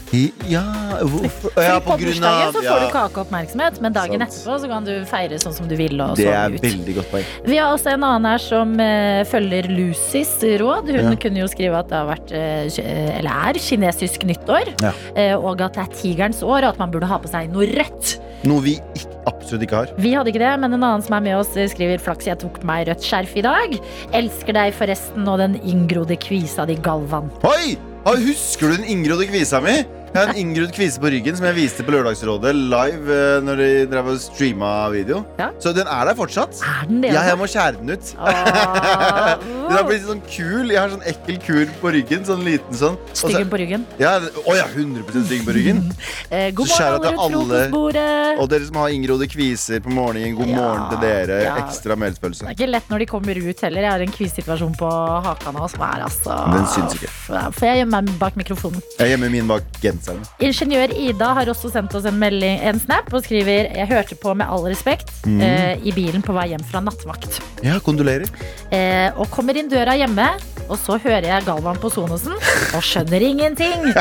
Speaker 5: I- Ja, hvorfor
Speaker 3: Fordi
Speaker 5: ja,
Speaker 3: på, bursdagen så får
Speaker 5: ja.
Speaker 3: du kakeoppmerksomhet, men dagen
Speaker 5: Sant.
Speaker 3: etterpå så kan du feire sånn som du vil. og
Speaker 5: Det
Speaker 3: sove
Speaker 5: er
Speaker 3: ut.
Speaker 5: veldig godt poeng.
Speaker 3: Vi har også en annen her som eh, følger Lucys råd. Hun
Speaker 5: Ja.
Speaker 3: kunne jo skrive at det har vært, eh, ki- eller er, kinesisk nyttår.
Speaker 5: Ja.
Speaker 3: eh, og at det er tigerens år, og at man burde ha på seg noe rødt.
Speaker 5: Noe vi ikke, absolutt ikke har.
Speaker 3: Vi hadde ikke det, men en annen som er med oss, eh, skriver Flaks, jeg tok på meg rødt skjerf i dag. Elsker deg forresten, og den inngrodde kvisa di, Galvan.
Speaker 5: Oi! Ah, Husker du den inngrodde kvisa mi? Jeg har en inngrodd kvise på ryggen som jeg viste på Lørdagsrådet live eh, når de drev og streama video.
Speaker 3: Ja.
Speaker 5: Så den er der fortsatt.
Speaker 3: Er den det?
Speaker 5: Ja,
Speaker 3: altså?
Speaker 5: jeg må skjære den ut.
Speaker 3: Åh,
Speaker 5: Den har blitt sånn kul. Jeg har sånn ekkel kur på ryggen. Sånn liten sånn. Og så-
Speaker 3: Styggen på ryggen.
Speaker 5: ja, å ja, 100 stygg på ryggen.
Speaker 3: Eh, god
Speaker 5: Så skjærer
Speaker 3: morgen,
Speaker 5: jeg
Speaker 3: alle
Speaker 5: til
Speaker 3: rundt
Speaker 5: alle-
Speaker 3: frokostbordet.
Speaker 5: Og dere som har inngrodde kviser på morgenen, god
Speaker 3: Ja,
Speaker 5: morgen til dere.
Speaker 3: ja.
Speaker 5: Ekstra
Speaker 3: Det
Speaker 5: melspølse.
Speaker 3: er ikke lett når de kommer ut heller. Jeg har en kvissituasjon på haka nå som er altså
Speaker 5: Den syns ikke.
Speaker 3: Ja, Får jeg gjemme meg bak mikrofonen?
Speaker 5: Jeg gjemmer min bak genseren.
Speaker 3: Ingeniør Ida har også sendt oss en, melding, en snap og skriver Jeg hørte på med all respekt
Speaker 5: Mm.
Speaker 3: eh, i bilen på vei hjem fra nattvakt.
Speaker 5: Ja, kondolerer.
Speaker 3: Eh, og kommer inn døra hjemme, og så hører jeg Galvan på Sonosen og skjønner ingenting.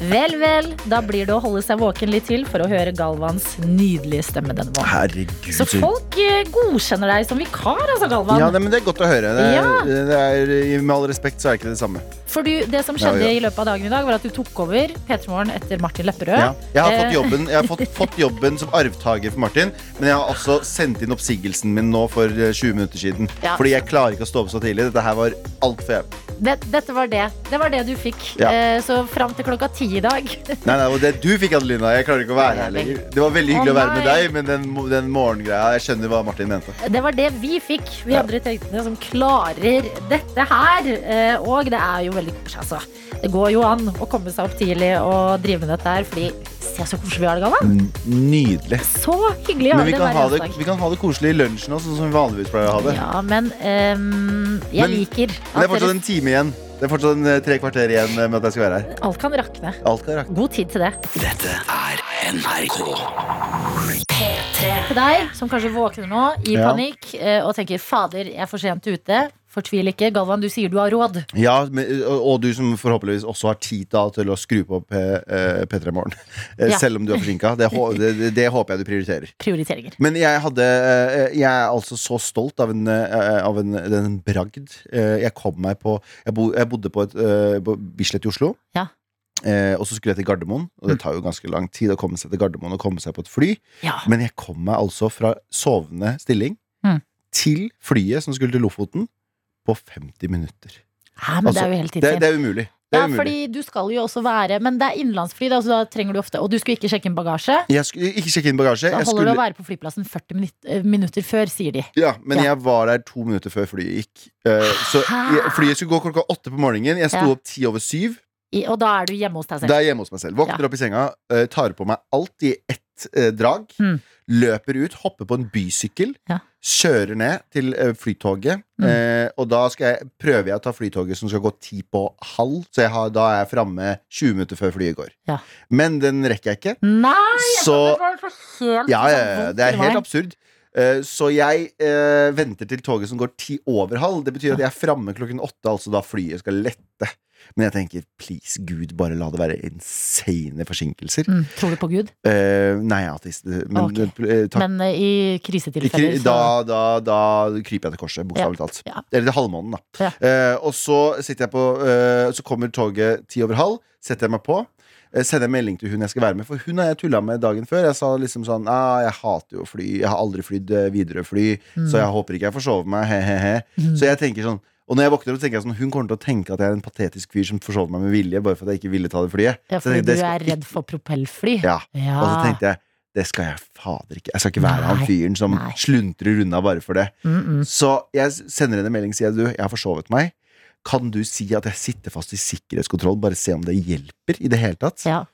Speaker 3: Vel, vel, da blir det å holde seg våken litt til for å høre Galvans nydelige stemme denne morgenen.
Speaker 5: Herregud.
Speaker 3: Så folk eh, godkjenner deg som vikar, altså, Galvan.
Speaker 5: Ja, nei, men Det er godt å høre. Det er,
Speaker 3: Ja.
Speaker 5: det er, med all respekt så er det ikke det samme.
Speaker 3: For du, det som skjedde
Speaker 5: Ja, ja.
Speaker 3: i løpet av dagen i dag, var at du tok over P3 Morgen etter Martin Lepperød.
Speaker 5: Ja. Jeg har fått
Speaker 3: Eh,
Speaker 5: jobben, jeg har fått, fått jobben som arvtaker for Martin, men jeg har også sendt inn oppsigelsen min nå for eh, 20 minutter siden.
Speaker 3: Ja.
Speaker 5: Fordi jeg klarer ikke å stå opp så tidlig. Dette her var altfor jævlig.
Speaker 3: Det, dette var det. Det var det du fikk.
Speaker 5: Ja.
Speaker 3: Eh, så fram til klokka ti i dag.
Speaker 5: Nei, nei, det var det du fikk, Adelina. Jeg klarer ikke å være her lenger. Det var veldig
Speaker 3: Å,
Speaker 5: hyggelig å være med
Speaker 3: nei.
Speaker 5: deg, men den, mo- den morgengreia Jeg skjønner hva Martin mente.
Speaker 3: Det var det vi fikk, vi andre tenkte som klarer dette her. Eh, og det er jo veldig koselig, altså. Det går jo an å komme seg opp tidlig og drive med dette her, fordi se så koselig vi har det, Galvan.
Speaker 5: N- Nydelig.
Speaker 3: Så hyggelig
Speaker 5: Men
Speaker 3: har
Speaker 5: vi
Speaker 3: vi det
Speaker 5: kan,
Speaker 3: hver
Speaker 5: ha det,
Speaker 3: eneste dag.
Speaker 5: vi kan ha det koselig i lunsjen også, sånn som vi vanligvis pleier å ha det.
Speaker 3: Ja, men ehm, jeg
Speaker 5: Men-
Speaker 3: liker
Speaker 5: Men det
Speaker 3: at
Speaker 5: er fortsatt
Speaker 3: dere,
Speaker 5: en time igjen. Det er fortsatt en, eh, tre kvarter igjen eh, med at jeg skal være her.
Speaker 3: alt kan rakne.
Speaker 5: Alt kan rakke.
Speaker 3: God tid til det.
Speaker 1: Dette er NRK.
Speaker 3: til deg som kanskje våkner nå i
Speaker 5: Ja.
Speaker 3: panikk eh, og tenker 'fader, jeg er for sent ute'. Fortvil ikke. Galvan, du sier du har råd.
Speaker 5: Ja, men, og, og du som forhåpentligvis også har tid da, til å skru på P, eh, P3 Morgen. Eh,
Speaker 3: Ja.
Speaker 5: Selv om du er forsinka. Det, hå- det, det- det håper jeg du prioriterer.
Speaker 3: Prioriteringer.
Speaker 5: Men jeg hadde eh, Jeg er altså så stolt av en, eh, av en, den en bragd. Eh, Jeg kom meg på Jeg, bo, jeg bodde på, et, eh, på Bislett i Oslo.
Speaker 3: Ja.
Speaker 5: Eh, og så skulle jeg til Gardermoen, og det tar jo ganske lang tid å komme seg til Gardermoen og komme seg på et fly.
Speaker 3: Ja.
Speaker 5: Men jeg kom meg altså fra sovende stilling
Speaker 3: Mm.
Speaker 5: til flyet som skulle til Lofoten, på 50 minutter.
Speaker 3: Hæ, men det er jo helt
Speaker 5: Altså, Det,
Speaker 3: tidsinn.
Speaker 5: det er umulig. Det
Speaker 3: Ja,
Speaker 5: er umulig.
Speaker 3: fordi du skal jo også være Men det er innenlandsfly, da, så da trenger du ofte Og du skulle ikke sjekke inn bagasje.
Speaker 5: Jeg skulle ikke sjekke inn bagasje.
Speaker 3: Da
Speaker 5: Jeg
Speaker 3: holder
Speaker 5: skulle,
Speaker 3: det å være på flyplassen 40 minutt- eh, minutter før, sier de.
Speaker 5: ja, men
Speaker 3: Ja.
Speaker 5: jeg var der to minutter før flyet gikk. Eh, så jeg, flyet skulle gå klokka åtte på morgenen. Jeg sto
Speaker 3: Ja.
Speaker 5: opp ti over syv.
Speaker 3: I, og da er du hjemme hos deg
Speaker 5: Da
Speaker 3: selv.
Speaker 5: er jeg hjemme hos meg selv. Våkner
Speaker 3: Ja.
Speaker 5: opp i senga, eh, tar på meg alt i ett eh, drag.
Speaker 3: Mm.
Speaker 5: Løper ut, hopper på en bysykkel,
Speaker 3: Ja.
Speaker 5: kjører ned til eh, flytoget.
Speaker 3: Mm.
Speaker 5: eh, og da skal jeg, prøver jeg å ta flytoget som skal gå ti på halv, så jeg har, da er jeg framme 20 minutter før flyet går.
Speaker 3: Ja.
Speaker 5: Men den rekker jeg ikke.
Speaker 3: Nei!
Speaker 5: Så-
Speaker 3: det var for helt
Speaker 5: Ja, ja, ja,
Speaker 3: sånn vondt
Speaker 5: det er
Speaker 3: i
Speaker 5: helt
Speaker 3: meg.
Speaker 5: absurd. Eh, Så jeg eh, venter til toget som går ti over halv. Det betyr at jeg er framme klokken åtte, altså da flyet skal lette. Men jeg tenker please, gud, bare la det være insane forsinkelser.
Speaker 3: mm, Tror du på Gud?
Speaker 5: Eh, nei, jeg er ateist. Men
Speaker 3: Ok.
Speaker 5: eh, takk.
Speaker 3: Men eh, i krisetilfeller
Speaker 5: Ikke- da, da, da kryper jeg til korset, bokstavelig talt.
Speaker 3: Ja.
Speaker 5: Eller til halvmånen, da.
Speaker 3: Ja.
Speaker 5: Eh, og så sitter jeg på eh, Så kommer toget ti over halv, setter jeg meg på. eh, Sender en melding til hun jeg skal være med, for hun har jeg tulla med dagen før. Jeg sa liksom sånn ah, Jeg hater jo fly. Jeg har aldri flydd eh, Widerøe-fly,
Speaker 3: Mm.
Speaker 5: så jeg håper ikke jeg forsover meg. He, he, he. Så jeg tenker sånn Og når jeg våkner opp, tenker jeg sånn Hun kommer til å tenke at jeg er en patetisk fyr som forsover meg med vilje, bare for at jeg ikke ville ta det flyet.
Speaker 3: Ja,
Speaker 5: Så
Speaker 3: fordi
Speaker 5: jeg
Speaker 3: du
Speaker 5: tenkte, det skal
Speaker 3: er redd for propellfly.
Speaker 5: Ja.
Speaker 3: Ja.
Speaker 5: og så tenkte jeg det skal jeg fader ikke. Jeg skal ikke være
Speaker 3: Ah. Nei,
Speaker 5: han fyren som
Speaker 3: nei.
Speaker 5: sluntrer unna bare for det.
Speaker 3: Mm, mm.
Speaker 5: Så jeg sender henne en melding og sier du, jeg har forsovet meg. Kan du si at jeg sitter fast i sikkerhetskontroll, bare se om det hjelper i det hele tatt?
Speaker 3: Ja.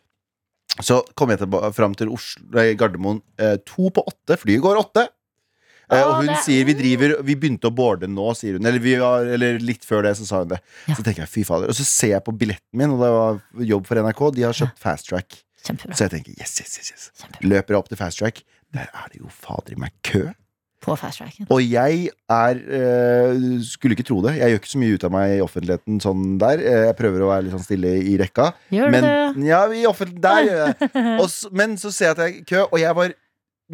Speaker 5: Så kom jeg tilba- fram til Oslo, nei, Gardermoen eh, to på åtte. Flyet går åtte. Eh,
Speaker 3: Å,
Speaker 5: og hun
Speaker 3: det- mm.
Speaker 5: sier vi driver Vi begynte å boarde nå, sier hun. Eller, vi var, eller litt før det, så sa hun det.
Speaker 3: Ja.
Speaker 5: Så tenker jeg, fy fader. Og så ser jeg på billetten min, og det var jobb for NRK. De har kjøpt fast track.
Speaker 3: Kjempebra.
Speaker 5: Så jeg tenker yes, yes, yes, yes.
Speaker 3: Kjempebra.
Speaker 5: Løper jeg opp til fast track. Der er det jo fader i meg kø.
Speaker 3: På fast tracken.
Speaker 5: Og jeg er eh, Skulle ikke tro det. Jeg gjør ikke så mye ut av meg i offentligheten sånn der. Eh, Jeg prøver å være litt sånn stille i rekka.
Speaker 3: Gjør
Speaker 5: Men,
Speaker 3: du det?
Speaker 5: ja, i offentlig, der gjør jeg det. Og s- Men så ser jeg at jeg er i kø, og jeg var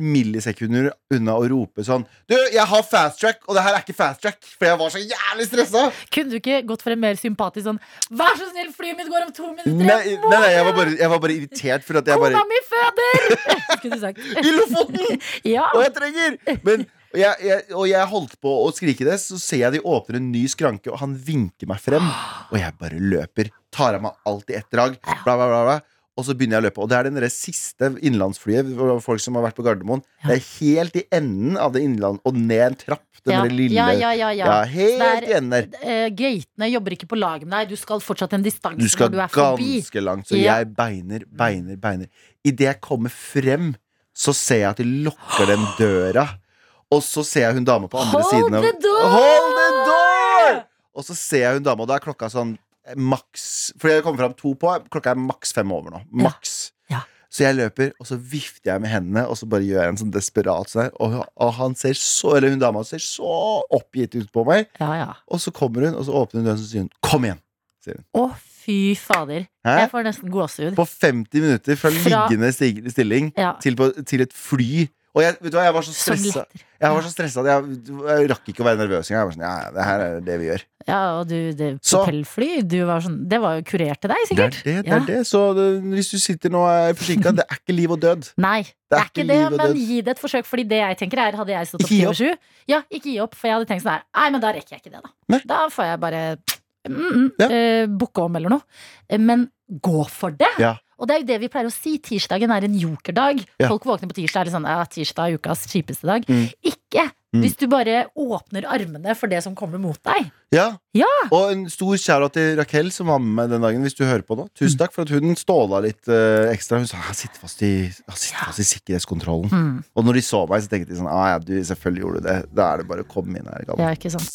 Speaker 5: millisekunder unna å rope sånn Du, jeg har fast track, og det her er ikke fast track, for jeg var så jævlig stressa.
Speaker 3: Kunne du ikke gått for en mer sympatisk sånn Vær så snill, flyet mitt går om to minutter!
Speaker 5: Nei, nei,
Speaker 3: jeg må
Speaker 5: nei jeg, var bare, jeg var bare irritert for at jeg
Speaker 3: Kona
Speaker 5: bare
Speaker 3: mi føder! Skulle du
Speaker 5: I
Speaker 3: sagt.
Speaker 5: Lofoten!
Speaker 3: Ja.
Speaker 5: Og jeg trenger Men og jeg, jeg, og jeg holdt på å skrike det, så ser jeg de åpner en ny skranke, og han vinker meg frem. Og jeg bare løper. Tar av meg alt i ett drag. Bla, bla, bla, bla. Og så begynner jeg å løpe. Og det er den der siste innenlandsflyet. hvor Folk som har vært på Gardermoen. Det er helt i enden av det innland og ned en trapp. Den
Speaker 3: Ja.
Speaker 5: der lille
Speaker 3: ja, ja, ja, ja.
Speaker 5: Ja, helt
Speaker 3: Det er-
Speaker 5: i enden der.
Speaker 3: Eh, gatene jobber ikke på lag med deg. Du skal fortsatt en distanse
Speaker 5: Du skal
Speaker 3: når du er forbi.
Speaker 5: ganske langt. Så
Speaker 3: Ja.
Speaker 5: jeg beiner, beiner, beiner. Idet jeg kommer frem, så ser jeg at de lukker den døra. Og så ser jeg hun dama på andre
Speaker 3: Hold
Speaker 5: siden av
Speaker 3: the door!
Speaker 5: Hold the door! Og så ser jeg hun dama, og da er klokka sånn eh, maks Fordi jeg kommer fram to på, klokka er maks fem over nå. Maks.
Speaker 3: Ja.
Speaker 5: Så jeg løper, og så vifter jeg med hendene, og så bare gjør jeg en sånn desperat sånn her. Og, og han ser så, eller hun dama ser så oppgitt ut på meg.
Speaker 3: Ja, ja.
Speaker 5: Og så kommer hun, og så åpner hun døren, og så sier hun 'kom igjen'.
Speaker 3: Å, fy fader.
Speaker 5: Hæ?
Speaker 3: Jeg får nesten gåsehud.
Speaker 5: på 50 minutter fra,
Speaker 3: Fra-
Speaker 5: liggende stig- stilling
Speaker 3: Ja.
Speaker 5: til, på, til et fly. Og jeg, vet du hva, jeg var så
Speaker 3: Som
Speaker 5: stressa
Speaker 3: letter.
Speaker 5: Jeg var så stresset at jeg, jeg rakk ikke å være nervøs engang. Jeg var sånn, ja, ja, det her er det vi gjør.
Speaker 3: Ja, og du, det
Speaker 5: Så-
Speaker 3: propellfly, du var sånn Det var jo kurert til deg,
Speaker 5: Det er
Speaker 3: sikkert.
Speaker 5: det, det, er det. Så det, hvis du sitter nå og er forsinka, det er ikke liv og død.
Speaker 3: Nei, det er ikke det,
Speaker 5: liv og
Speaker 3: men
Speaker 5: død.
Speaker 3: gi det et forsøk, fordi det jeg tenker er, hadde jeg stått opp
Speaker 5: Ikke gi
Speaker 3: ti over sju Ja, ikke gi opp, for jeg hadde tenkt sånn her, nei, men da rekker jeg ikke det, da.
Speaker 5: Nei.
Speaker 3: Da får jeg bare mm, mm,
Speaker 5: Ja.
Speaker 3: eh, bukke om eller noe. Eh, Men gå for det!
Speaker 5: Ja.
Speaker 3: Og det er jo det vi pleier å si, tirsdagen er en jokerdag.
Speaker 5: Ja.
Speaker 3: Folk våkner på tirsdag, er litt sånn, ja, tirsdag er ukas kjipeste dag.
Speaker 5: Mm.
Speaker 3: Ikke!
Speaker 5: Mm.
Speaker 3: Hvis du bare åpner armene for det som kommer mot deg.
Speaker 5: Ja.
Speaker 3: Ja.
Speaker 5: Og en stor kjære til Rakel som var med meg den dagen, hvis du hører på nå.
Speaker 3: Mm.
Speaker 5: Tusen takk for at hun ståla litt eh, ekstra. Hun sa jeg sitter fast i, jeg sitter fast i sikkerhetskontrollen.
Speaker 3: Mm.
Speaker 5: Og når de så meg, så tenkte de sånn ah, ja, du, selvfølgelig gjorde du det. Da er det bare å komme inn her. Galvan.
Speaker 3: Ja, ikke sant.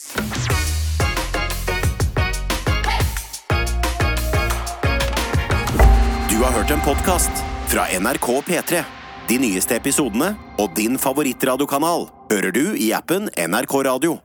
Speaker 11: Du har hørt en podcast fra NRK P3. De nyeste episodene og din favorittradiokanal hører du i appen NRK Radio.